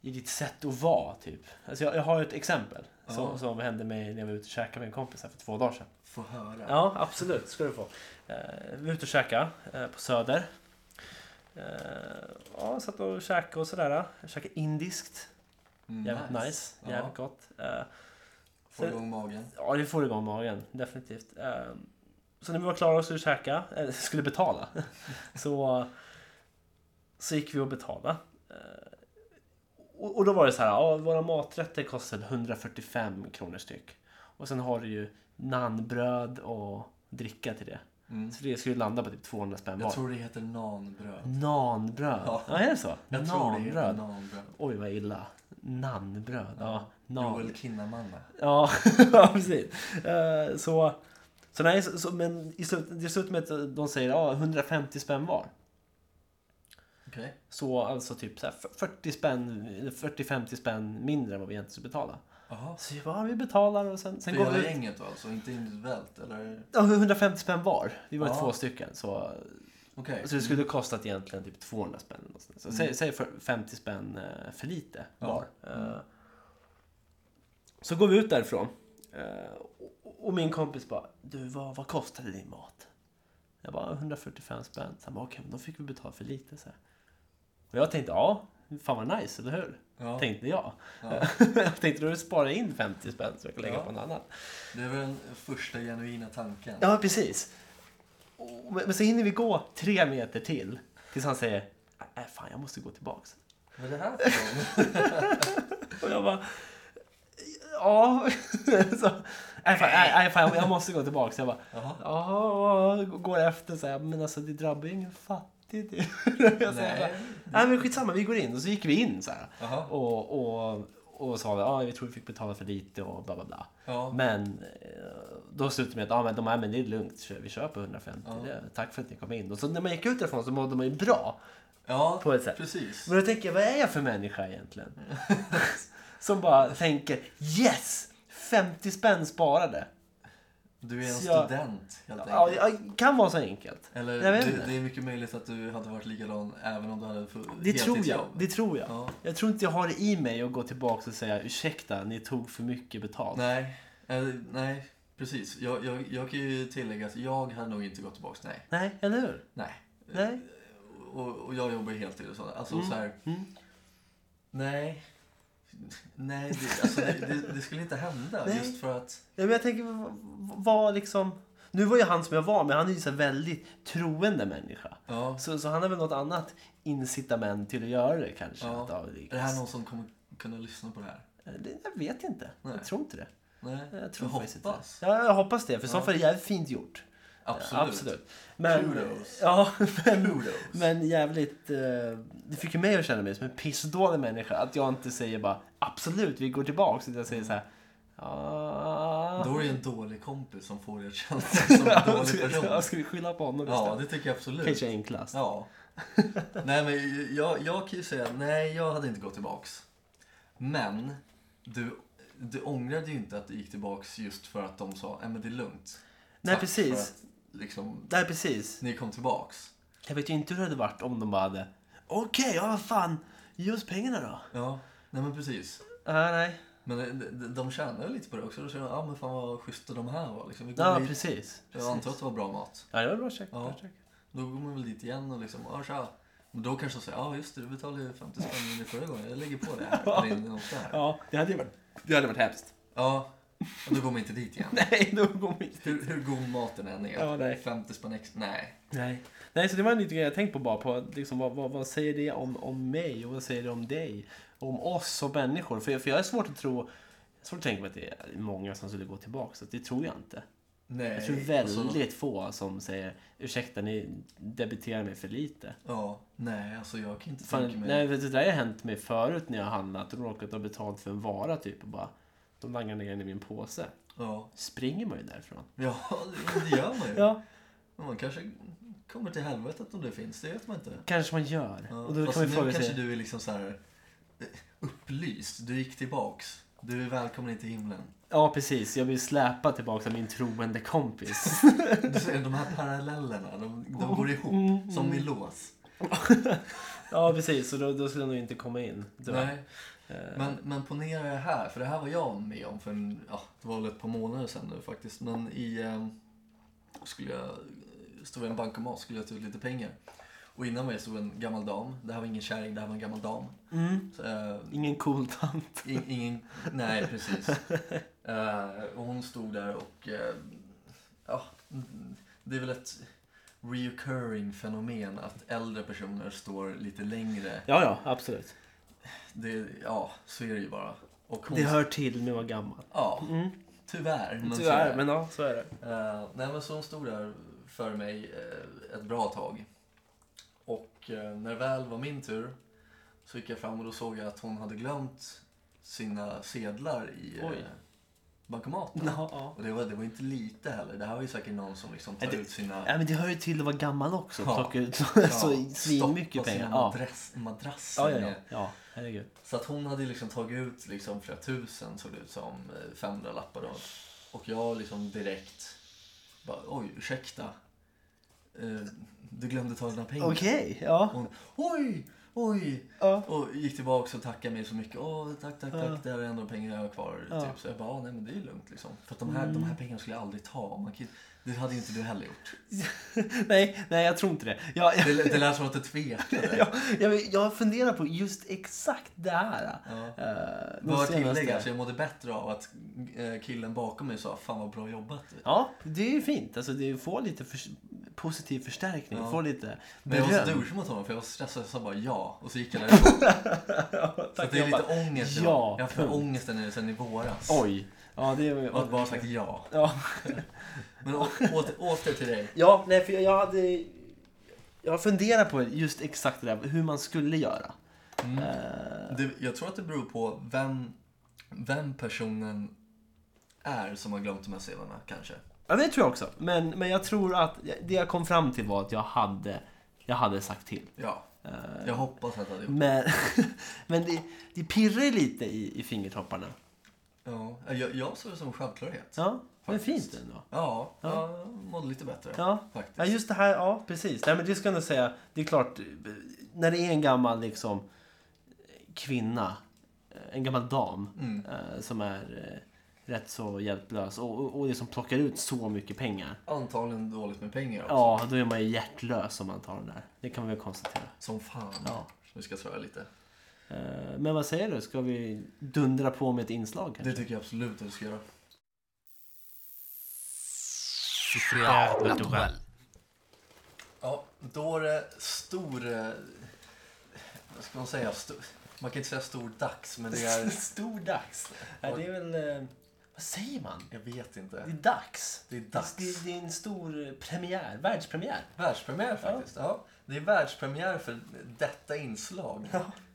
i ditt sätt att vara, typ. Alltså jag, jag har ju ett exempel som, som hände mig när jag var ute och käkade med en kompis här för två dagar sedan. Få höra. Ja, absolut. ska du få. Eh, vi var ute och käkade eh, på Söder. Eh, ja, satt och käkade och sådär. Jag käkade indiskt. Mm, Jävligt nice. Jävligt Ja. gott. Eh, Få igång magen. Ja, det får igång magen. Definitivt. Eh, Så när vi var klara och skulle käka, eller skulle betala, så, så gick vi och betalade. Eh, Och och då var det så här, ja, våra maträtter kostade 145 kronor styck. Och sen har du ju naanbröd och dricka till det. Mm. Så det skulle landa på typ 200 spänn Jag var. tror det heter nanbröd. Naanbröd? Ja. Ja. är det så? Jag tror det heter Naanbröd? nanbröd. Oj, vad illa. Naanbröd? Ja, nan. Joel Kinnamanna. Ja, ja precis. Eh, så, så nej, så, så, men i slut, det slutar med att de säger ja, 150 spänn var. Okej. Så alltså typ så här 40 spänn, eller 40-50 spänn mindre än vad vi egentligen skulle betala. Jaha. Så vi bara, vi betalar och sen, sen För går hela vi ut. gänget då alltså, inte individuellt eller? Ja, 150 spänn var. Vi var ju Ja. två stycken. Så, Okej. så Alltså det skulle kostat egentligen typ 200 spänn. Eller något sånt. så säg, säg för 50 spänn eh, för lite Mm. Ja. Mm. var. Eh, Så går vi ut därifrån. Eh, och- Och min kompis bara, du vad, vad kostade din mat? Jag bara, 145 spänn. Så han bara, okej, men då fick vi betala för lite. Så här. Och jag tänkte, ja, fan vad nice, eller hur? Ja. Tänkte jag. Ja. jag tänkte, då sparar jag in 50 spänn så jag kan lägga Ja. på något annat. Det är väl den första genuina tanken. Ja, precis. Och- Men men så hinner vi gå tre meter till. Tills han säger, nej fan jag måste gå tillbaks. Vad är det här för någon? Och jag bara, ja. så, nej fan, nej, nej, fan jag- jag måste gå tillbaks. Jag bara, Jaha. jaha, och går efter så här, men alltså det drabbar ju ingen fattig. di, di. Jag säger Nej. bara, Nej men skitsamma, vi går in. Och så gick vi in så här. Jaha. Och, och, och sa ja, vi tror vi fick betala för lite och bla bla bla. Ja. Men eh, då slutade det med att ja, men de här, men det är lugnt, kör- vi kör på 150. Ja. Det, tack för att ni kom in. Och så när man gick ut därifrån så mådde man ju bra. Ja, På ett sätt. precis. Men då tänker jag, vad är jag för människa egentligen? Som bara tänker yes! 50 spänn sparade. Du är en Så jag- student helt enkelt. Ja, ja, kan vara så enkelt. jag Eller vet du, inte. det är mycket möjligt att du hade varit likadan även om du hade fått Det tror jag. heltidsjobb. Det tror jag. Ja. Jag tror inte jag har det i mig att gå tillbaka och säga ursäkta, ni tog för mycket betalt. Nej, eh, nej, precis. Jag, jag, jag kan ju tillägga att jag hade nog inte gått tillbaka. Nej, Nej, eller hur? nej. Nej. Och, och jag jobbar ju heltid och sådär. Alltså så här, Mm. nej. Nej, det, alltså, det, det, det skulle inte hända Nej. just för att... Ja, men jag tänker, vad- vad liksom... Nu var ju han som jag var, men han är ju så här väldigt troende människa. Ja, Så, så han har väl något annat incitament till att göra det kanske. Ja. Att, ja, det, är det här någon som kommer kunna lyssna på det här? det, jag vet inte. Nej. Jag tror inte det. Nej, Jag tror jag faktiskt inte det. hoppas. Ja, jag hoppas det. För i så Ja. fall är det jävligt fint gjort. Absolut. Men, Kudos. Ja, men, Kudos. men jävligt... Eh, det fick ju mig att känna mig som en pissdålig människa. Att jag inte säger bara absolut, vi går tillbaks. Utan jag säger så här... "Ah." Då är det ju en dålig kompis som får dig att känna dig som en dålig person. Jag skulle skylla på honom Ja, istället. det tycker jag absolut. Kanske enklast. Ja. Nej, men jag, jag kan ju säga nej, jag hade inte gått tillbaks. Men du, du ångrade ju inte att du gick tillbaks just för att de sa, nej men det är lugnt. Nej, Tack precis. För att, liksom, Nej, precis. ni kom tillbaks. Jag vet ju inte hur det hade varit om de bara hade... Okej, ja vad fan. Ge oss pengarna då. Ja, nej men precis. Ja, nej. Men de- de, de tjänade väl lite på det också. Då kände de, ja men fan vad schyssta de här var. Liksom, vi går Ja, dit. precis. Jag antar att det var bra mat. Ja, det var bra käk. Ja. bra käk. Då går man väl dit igen och liksom, ja tja. Men då kanske de säger, ja just det, du betalade ju 50 spänn nu förra gången. Jag lägger på det här. Eller något där. Ja. Ja, det hade ju varit, det hade varit hemskt. ja. Och då går man inte dit igen. Nej, då går vi Hur, hur god maten än är. Ja, nej. 50 spänn extra. Nej. Nej. Nej, så det var en liten grej jag tänkte på bara på liksom, vad, vad, vad säger det om, om mig och vad säger det om dig? Om oss som människor? För, jag- för jag är svårt att tro, svårt att tänka mig att det är många som skulle gå tillbaka. Så det tror jag inte. Nej. Jag tror Alltså, väldigt få som säger ursäkta ni debiterar mig för lite. ja. Nej, alltså jag kan inte Fan, tänka mig. nej, vet du, det där har hänt mig förut när jag har handlat och råkat ha betalt för en vara typ och bara de langar ner den i min påse. Ja. Springer man ju därifrån. Ja, det gör man ju. Ja, Men man kanske kommer till helvetet om det finns. Det vet man inte. kanske man gör. Ja. och då Fast kan man ju nu fråga kanske sig. du är liksom så här eh, upplyst. Du gick tillbaks. Du är välkommen in till himlen. Ja, precis. Jag vill släpa tillbaka min troende kompis. Du ser, de här parallellerna, de, Mm. de går ihop. Som i lås. ja, precis. Så då, då skulle jag nog inte komma in. tyvärr. Eh, Nej. Men, men ponera det här, för det här var jag med om för en, ja, det var väl ett par månader sedan nu faktiskt. Men i, eh, skulle jag, stod jag i en bankomat skulle jag ta ut lite pengar. Och innan mig stod en gammal dam. Det här var ingen kärring, det här var en gammal dam. Så, eh, mm. Ingen cool tant. I- Ingen, nej precis. Eh, och hon stod där och, eh, ja, mm, det är väl ett recurring fenomen att äldre personer står lite längre. Ja, ja, absolut. Det, ja, så är det ju bara. Och hon, Det hör till med att vara gammal. ja, Mm. tyvärr. Men så är Tyvärr, det. men ja, så är det. Eh, nej men så hon stod där för mig eh, ett bra tag. Och eh, när det väl var min tur så gick jag fram och då såg jag att hon hade glömt sina sedlar i eh, Oj. bankomaten. Ja, ja. Och det var, det var inte lite heller. Det här var ju säkert någon som liksom tar Ja, det- ut sina... Ja, men det hör ju till att vara gammal också. Ja. Plocka ut så, så stoppa svinmycket pengar. sina Ja. madrass, madrasser. Ja, ja, ja. med. ja, herregud. Så att hon hade liksom tagit ut liksom flera tusen såg det ut som. 500 lappar då. Och jag liksom direkt bara, oj ursäkta. Eh, du glömde ta dina pengar. Okej, Och ja. hon, oj, oj. ja. Och gick tillbaka och tackade mig så mycket. Åh, tack, tack, tack. Ja. Det här är ändå pengar jag har kvar. Ja. Mm. Typ. Så jag bara, "Ah, nej men det är lugnt liksom. För att de här, de här pengarna skulle jag aldrig ta. Man kan, ju- det hade ju inte du heller gjort. Nej, nej, jag tror inte det. Jag, jag, Det, det lät som att du tvekade. jag, jag, jag funderar på just exakt det här. Ja. eh, de Bara senaste- tillägga, så jag mådde bättre av att eh, killen bakom mig sa Fan vad bra jobbat du. Ja, det är ju fint. Alltså, det får lite förs- positiv förstärkning. Ja. Får lite Men jag var så beröm. douchig mot honom för jag var stressad så jag sa bara ja och så gick jag därifrån. så att det är lite ångest idag. Ja, Jag har för punkt. ångesten nu sen i våras. Oj. Ja, det är... Och att bara sagt ja. Ja. Men å- åter, åter till dig. ja, nej för jag hade... Jag funderar på just exakt det där, hur man skulle göra. Eh, Det, jag tror att det beror på vem, vem personen är som har glömt de här sedlarna kanske. Ja, det tror jag också. Men, men jag tror att det jag kom fram till var att jag hade, jag hade sagt till. Ja, Eh, jag hoppas att jag hade gjort Men, men det, det pirrar ju lite i, i fingertopparna. Ja, Eh, jag, jag såg det som en självklarhet. Ja, men Faktiskt. fint ändå. Ja, jag mådde lite bättre Ja. faktiskt. Ja, just det här. Ja, precis. Nej, men det ska jag nog säga. Det är klart, när det är en gammal liksom, kvinna, en gammal dam Mm. eh, som är eh, rätt så hjälplös och, och, och liksom plockar ut så mycket pengar. Antagligen dåligt med pengar också. Ja, då är man ju hjärtlös om man tar den där. Det kan vi väl konstatera. Som fan. Ja. Vi ska tröja lite. Eh, Men vad säger du? Ska vi dundra på med ett inslag? kanske? Det tycker jag absolut att du ska göra. Ja, då är det stor... eh, Vad ska man säga? Stor, man kan inte säga stor dags, men det är... Stor dags. Nej, det är väl... eh, Vad säger man? Jag vet Det inte. är dags. Det är dags. Det är, det är en stor premiär. Världspremiär. Världspremiär faktiskt. Ja. Det är världspremiär för detta inslag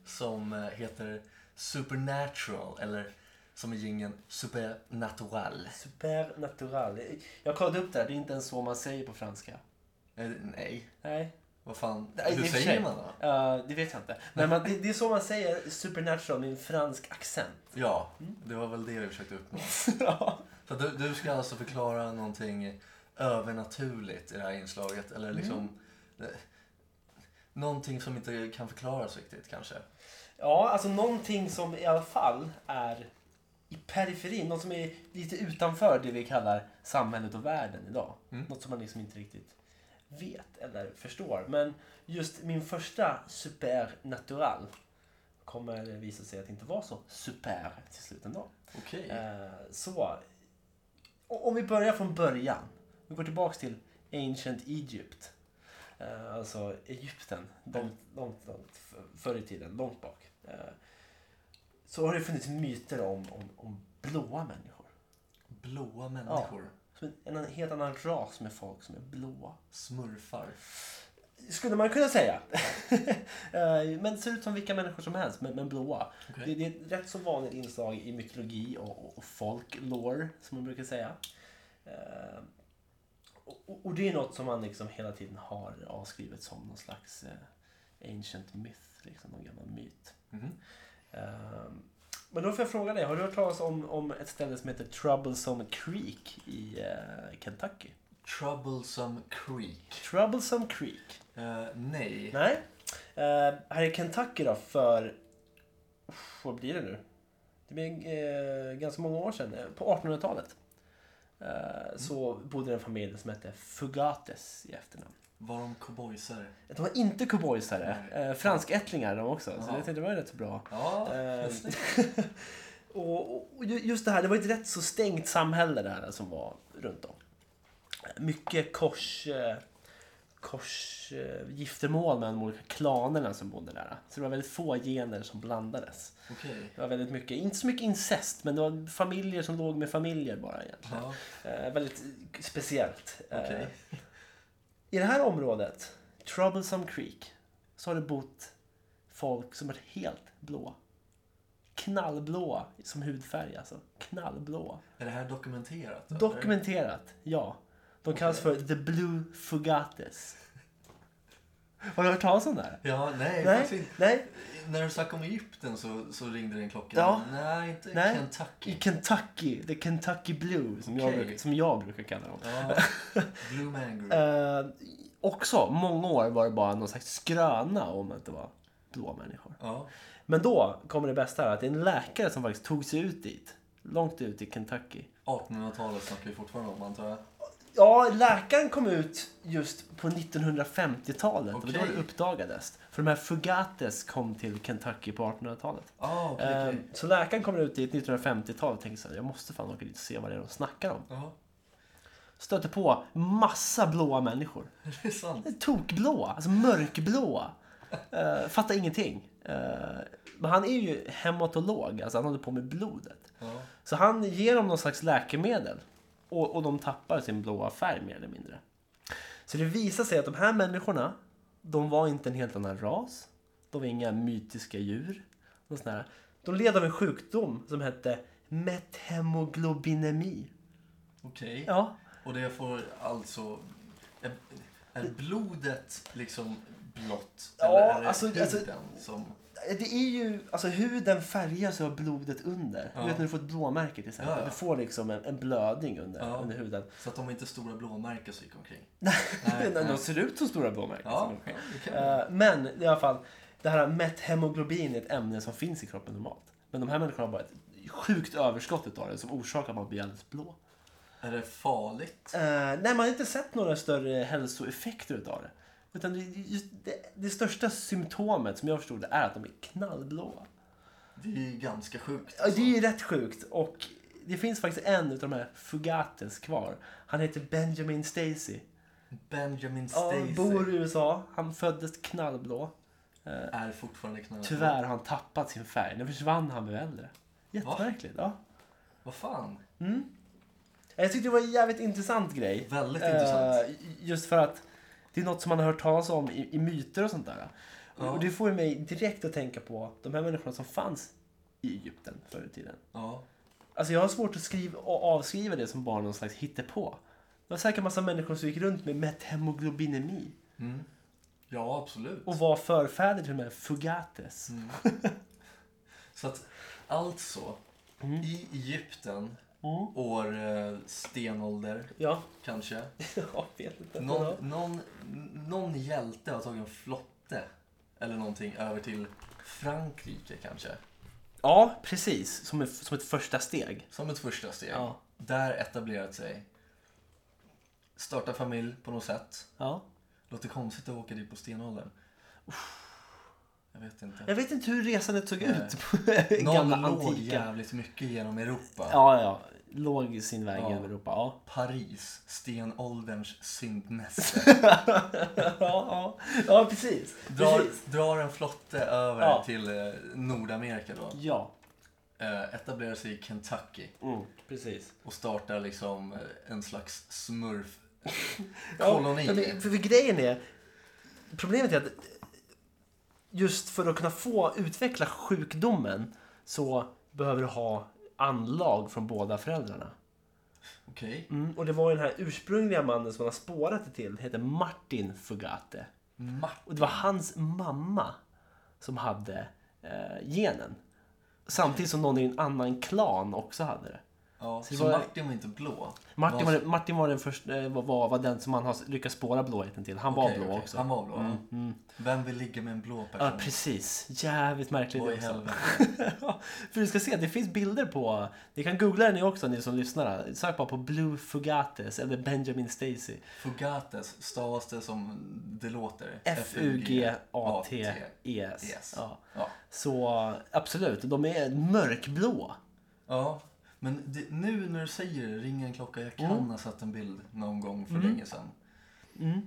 som eh, heter Supernatural, eller som i jingeln Supernatural. Supernatural. Jag kollade upp det här. Det är inte ens så man säger på franska. Eh, Nej, Nej. vad fan. Nej, Hur i och för sig. säger man då? Eh, det vet jag inte. Men man, det, det är så man säger supernatural med en fransk accent. Ja, det var väl det vi försökte uppnå. ja. Så du, du ska alltså förklara någonting övernaturligt i det här inslaget? Eller liksom... eh, Någonting som inte kan förklaras riktigt kanske? ja, alltså någonting som i alla fall är i periferin. Något som är lite utanför det vi kallar samhället och världen idag. Något som man liksom inte riktigt vet eller förstår. Men just min första supernatural kommer visa sig att inte vara så super till slut ändå. Okej. Eh, Så, o- om vi börjar från början. Vi går tillbaks till Ancient Egypt. Eh, Alltså Egypten, långt, långt, långt f- förr i tiden, långt bak. Eh, Så har det funnits myter om, om, om blåa människor. Blåa människor. Som en, en helt annan ras med folk som är blåa. Smurfar. Skulle man kunna säga. Eh, men ser ut som vilka människor som helst, men, men blåa. Okej. Det, det är ett rätt så vanligt inslag i mytologi och, och, och folklore, som man brukar säga. Eh, och, och det är något som man liksom hela tiden har avskrivet som någon slags eh, ancient myth, liksom någon gammal myt. Mhm. Eh, men då får jag fråga dig, har du hört talas om, om ett ställe som heter Troublesome Creek i eh, Kentucky? Troublesome Creek. Troublesome Creek. Eh, nej. Nej. Eh, här i Kentucky då för... Uff, Vad blir det nu? Det blir eh, ganska många år sedan. eh, På 1800-talet. Eh, Så bodde det en familj som hette Fugates i efternamn. Var de cowboysare? De var inte cowboysare. Nej. Eh, Franskättlingar de också. Så Jaha. jag tänkte det var ju rätt så bra. Ja. Eh, och, och- och ju- just det här, det var ett rätt så stängt samhälle det här som var runt om. Mycket kors, eh, kors eh, giftermål mellan de olika klanerna som bodde där. Så det var väldigt få gener som blandades. Okej. Det var väldigt mycket, inte så mycket incest, men det var familjer som låg med familjer bara egentligen. Ja. Eh, väldigt eh, speciellt. Eh, Okej. I det här området, Troublesome Creek, så har det bott folk som är helt blå. Knallblåa som hudfärg alltså. Knallblåa. Är det här dokumenterat? eller? Dokumenterat, ja. De kallas för The Blue Fugates. Har du hört talas om det här? Ja, nej. faktiskt Nej, inte. nej. När du snackade om Egypten så, så ringde det en klocka. Ja. Nej, inte Nej. Kentucky. I Kentucky, The Kentucky Blue som, jag, Okej. brukar, som jag brukar kalla dem. Ja. Blue Mangrove. Eh, också, många år var det bara någon slags skröna om att det var blå människor. Ja. Men då kommer det bästa här, att det är en läkare som faktiskt tog sig ut dit. Långt ut i Kentucky. 1800-talet snackar vi fortfarande om antar jag. Ja, läkaren kom ut just på 1950-talet. och Det var Okej. då det uppdagades. För de här Fugates kom till Kentucky på 1800-talet. Ah, okej, okej. Ehm, Så läkaren kommer ut dit 1950-talet och tänker så här, jag måste fan åka dit och se vad det är de snackar om. Ja, Stöter på massa blåa människor. det är sant. Tokblåa, alltså mörkblåa. Uh, fattar ingenting. Eh, men han är ju hematolog, alltså han håller på med blodet. Ja. Så han ger dem någon slags läkemedel. Och, och de tappar sin blåa färg mer eller mindre. Så det visar sig att de här människorna de var inte en helt annan ras. De var inga mytiska djur. Och sådär. De led av en sjukdom som hette methemoglobinemi. Okej. Ja, Och det får alltså... Är, är blodet liksom blått? Ja, eller är det alltså- huden alltså- som... det är ju, alltså huden färgas av blodet under. Ja. Du vet när du får ett blåmärke till exempel. Ja, ja. Du får liksom en, en blödning under, Ja. under huden. Så att de inte är stora blåmärken som gick omkring? Alltså, Nej, Nej, nej. De ser ut som stora blåmärken. Ja, som de- ja, det kan man. Eh, Men i alla fall, det här methemoglobin är ett ämne som finns i kroppen normalt. Men de här människorna har bara ett sjukt överskott utav det som orsakar att man blir alldeles blå. Är det farligt? Eh, nej, man har inte sett några större hälsoeffekter utav det. Utan det, just det, det största symptomet som jag förstod det är att de är knallblåa. Det är ju ganska sjukt. Alltså, Ja, det är ju rätt sjukt. Och det finns faktiskt en utav de här Fugates kvar. Han heter Benjamin Stacy. Benjamin Ja, Stacy bor i USA. Han föddes knallblå. är fortfarande knallblå. Tyvärr har han tappat sin färg. Nu försvann han med äldre. Jättemärkligt. Ja. Vad fan? Jag tyckte det var en jävligt intressant grej. Väldigt Eh, intressant. Just för att det är något som man har hört talas om i, i myter och sånt där. Ja. Och det får ju mig direkt att tänka på de här människorna som fanns i Egypten förr i tiden. Ja. Alltså jag har svårt att skriva, och avskriva det som bara någon slags hittepå. Det var säkert en massa människor som gick runt med methemoglobinemi Mm. Ja, absolut. och var förfäder till de här fugates. Mm. Så att alltså, i Egypten, Mm. år eh, stenålder Ja, kanske. jag vet inte. Ja. Någon, någon, någon hjälte har tagit en flotte eller någonting över till Frankrike kanske. Ja, precis. Som, en, som ett första steg. Som ett första steg. Ja. Där etablerat sig. Starta familj på något sätt. Ja. Låter konstigt att åka dit på stenåldern. Jag vet inte. Jag vet inte hur resandet såg Nej. ut på den Någon gamla låg antika. jävligt mycket genom Europa. Ja, ja. Låg i sin väg Ja. genom Europa. Ja. Paris, stenålderns syndmästare. ja, ja. ja precis. precis. Drar, drar en flotte över Ja. till eh, Nordamerika då. Ja, Eh, etablerar sig i Kentucky mm, precis. och startar liksom eh, en slags smurf. Ja, Koloni. men, för, för grejen är, problemet är att just för att kunna få utveckla sjukdomen så behöver du ha anlag från båda föräldrarna. Okej. Mm, och det var ju den här ursprungliga mannen som man har spårat det till, heter Martin Fugate. Martin. Och det var hans mamma som hade eh, genen. Samtidigt som någon i en annan klan också hade det. Ja, det så var- Martin var inte blå? Martin var, Var- Martin var, den första, eh, var, var, var den som man har lyckats spåra blåheten till. Han var Okej, blå okej. också. Mm, Han var blå. ja. Vem vill ligga med en blå person? Ja, precis. Jävligt märkligt Vad i också. helvete. Ja, För du ska se, det finns bilder på... Ni kan googla det ni också, ni som lyssnar. Sök bara på Blue Fugates eller Benjamin Stacy. Fugates stavas det som det låter? F-U-G-A-T-E-S. Yes. E Ja. Ja. Så absolut, de är mörkblå. Ja, men det, nu när du säger det ringer en klocka. Jag kan Mm. ha sett en bild någon gång för länge sedan.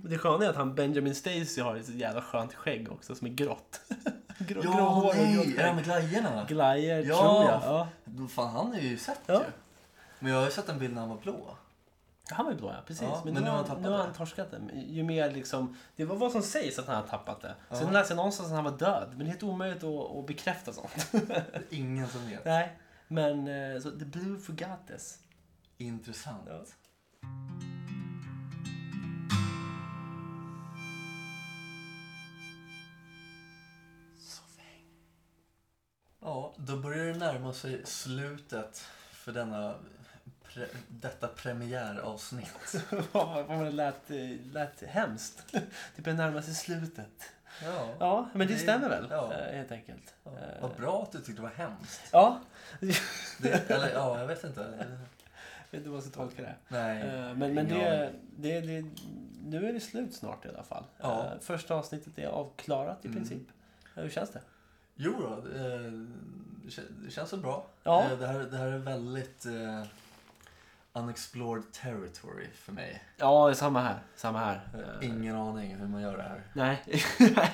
Det sköna är att han Benjamin Stacy har ett så jävla skönt skägg också som är grått. Grå, grå Ja, hår och grått nej! Är det skägg. med glajjorna? Glajer Ja. tror jag. Ja. Då Fan, han är ju sett Ja. ju. Men jag har ju sett en bild när han var blå. Han var ju blå ja, precis. Ja, men, men nu, nu har har han han, tappat nu har det. han torskat det. Ju mer liksom, det var vad som sägs att han har tappat det. Sen läste jag någonstans att han var död. Men det är helt omöjligt att, att bekräfta sånt. Det är Ingen som vet. nej. Men eh, så, The Blue Fugates. Intressant. Ja. Ja, då börjar det närma sig slutet för denna, pre, detta premiäravsnitt. Vad vad det lät, eh, lät hemskt. Det börjar närma sig slutet. Ja. Ja, men det Det- stämmer väl ja. eh, helt enkelt. Ja. Eh, Vad bra att du tyckte det var hemskt. Ja, Det, eller ja, jag vet inte. vet inte vad jag ska tolka det. Nej. Eh, Men, men ingen det, aning. det, det, nu är det slut snart i alla fall. Ja. Eh, Första avsnittet är avklarat i princip. Eh, Hur känns det? Jo då, eh, det kän- det känns så bra. Ja. Eh, Det, här, det här är väldigt eh, unexplored territory för mig. Ja, samma här. Samma här. Jag har Eh, ingen aning hur man gör det här. Nej,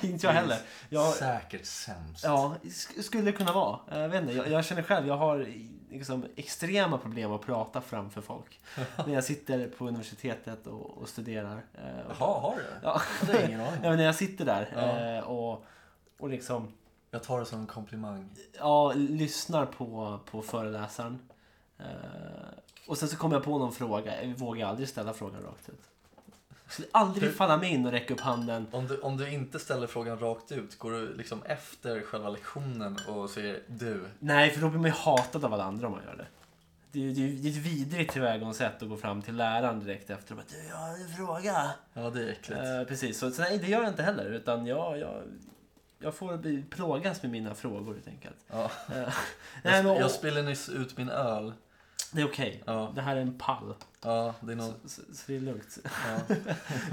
inte jag heller. Jag, Säkert sämst. ja, sk- skulle det kunna vara. Eh, Jag vet inte, jag, jag känner själv, jag har i- liksom, extrema problem att prata framför folk. när jag sitter på universitetet och, och studerar. eh, och- Jaha, har du det? Ja. Det är ingen aning. Ja, men när jag sitter där Ja. eh, och, och liksom Jag tar det som en komplimang. ja, lyssnar på, på föreläsaren. Eh, och sen så kommer jag på någon fråga. Jag vågar aldrig ställa frågan rakt ut. Det skulle aldrig falla mig in och räcka upp handen. Om du, om du inte ställer frågan rakt ut, går du liksom efter själva lektionen och säger du? Nej, för då blir man ju hatad av alla andra om man gör det. Det är ju det är ju- det är ett vidrigt tillvägagångssätt att gå fram till läraren direkt efter och bara Du, jag har en fråga. Ja, det är äckligt. Eh, precis, så, så nej, det gör jag inte heller. Utan jag, jag, jag får bli, plågas med mina frågor helt enkelt. Ja. Eh, nej, Jag, men, sp- och, jag spillde nyss ut min öl. det är okej. Ja, Det här är en pall. ja det är någon... Så, så det är lugnt. Ja.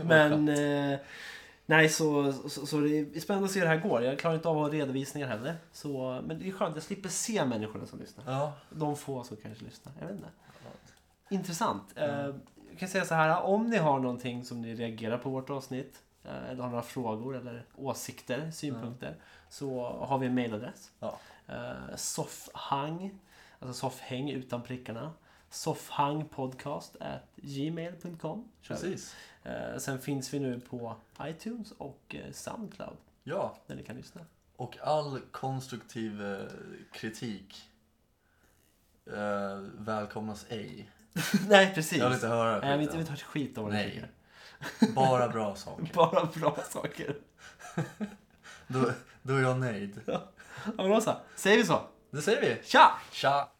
Men eh, nej, så, så, så det är spännande att se hur det här går. Jag klarar inte av att ha redovisningar heller. Så, men det är skönt, jag slipper se människorna som lyssnar. ja. De få som kanske lyssnar. Jag vet inte. Intressant. Eh, jag kan säga så här, om ni har någonting som ni reagerar på vårt avsnitt eh, eller har några frågor eller åsikter, synpunkter så har vi en mailadress. Ja. Eh, soffhang, alltså soffhäng utan prickarna. Soffhangpodcast gmail.com. Precis. Eh, sen finns vi nu på iTunes och eh, Soundcloud Ja, där ni kan lyssna. och all konstruktiv eh, kritik eh, välkomnas ej. Nej, precis. Jag vill inte höra Nej, jag vill skiten. inte vi tar ett skit om vad ni Nej. tycker. Bara bra saker. Bara bra saker. Då, då är jag nöjd. Ja, men då så. Säger vi så? Det säger vi. Tja! Tja!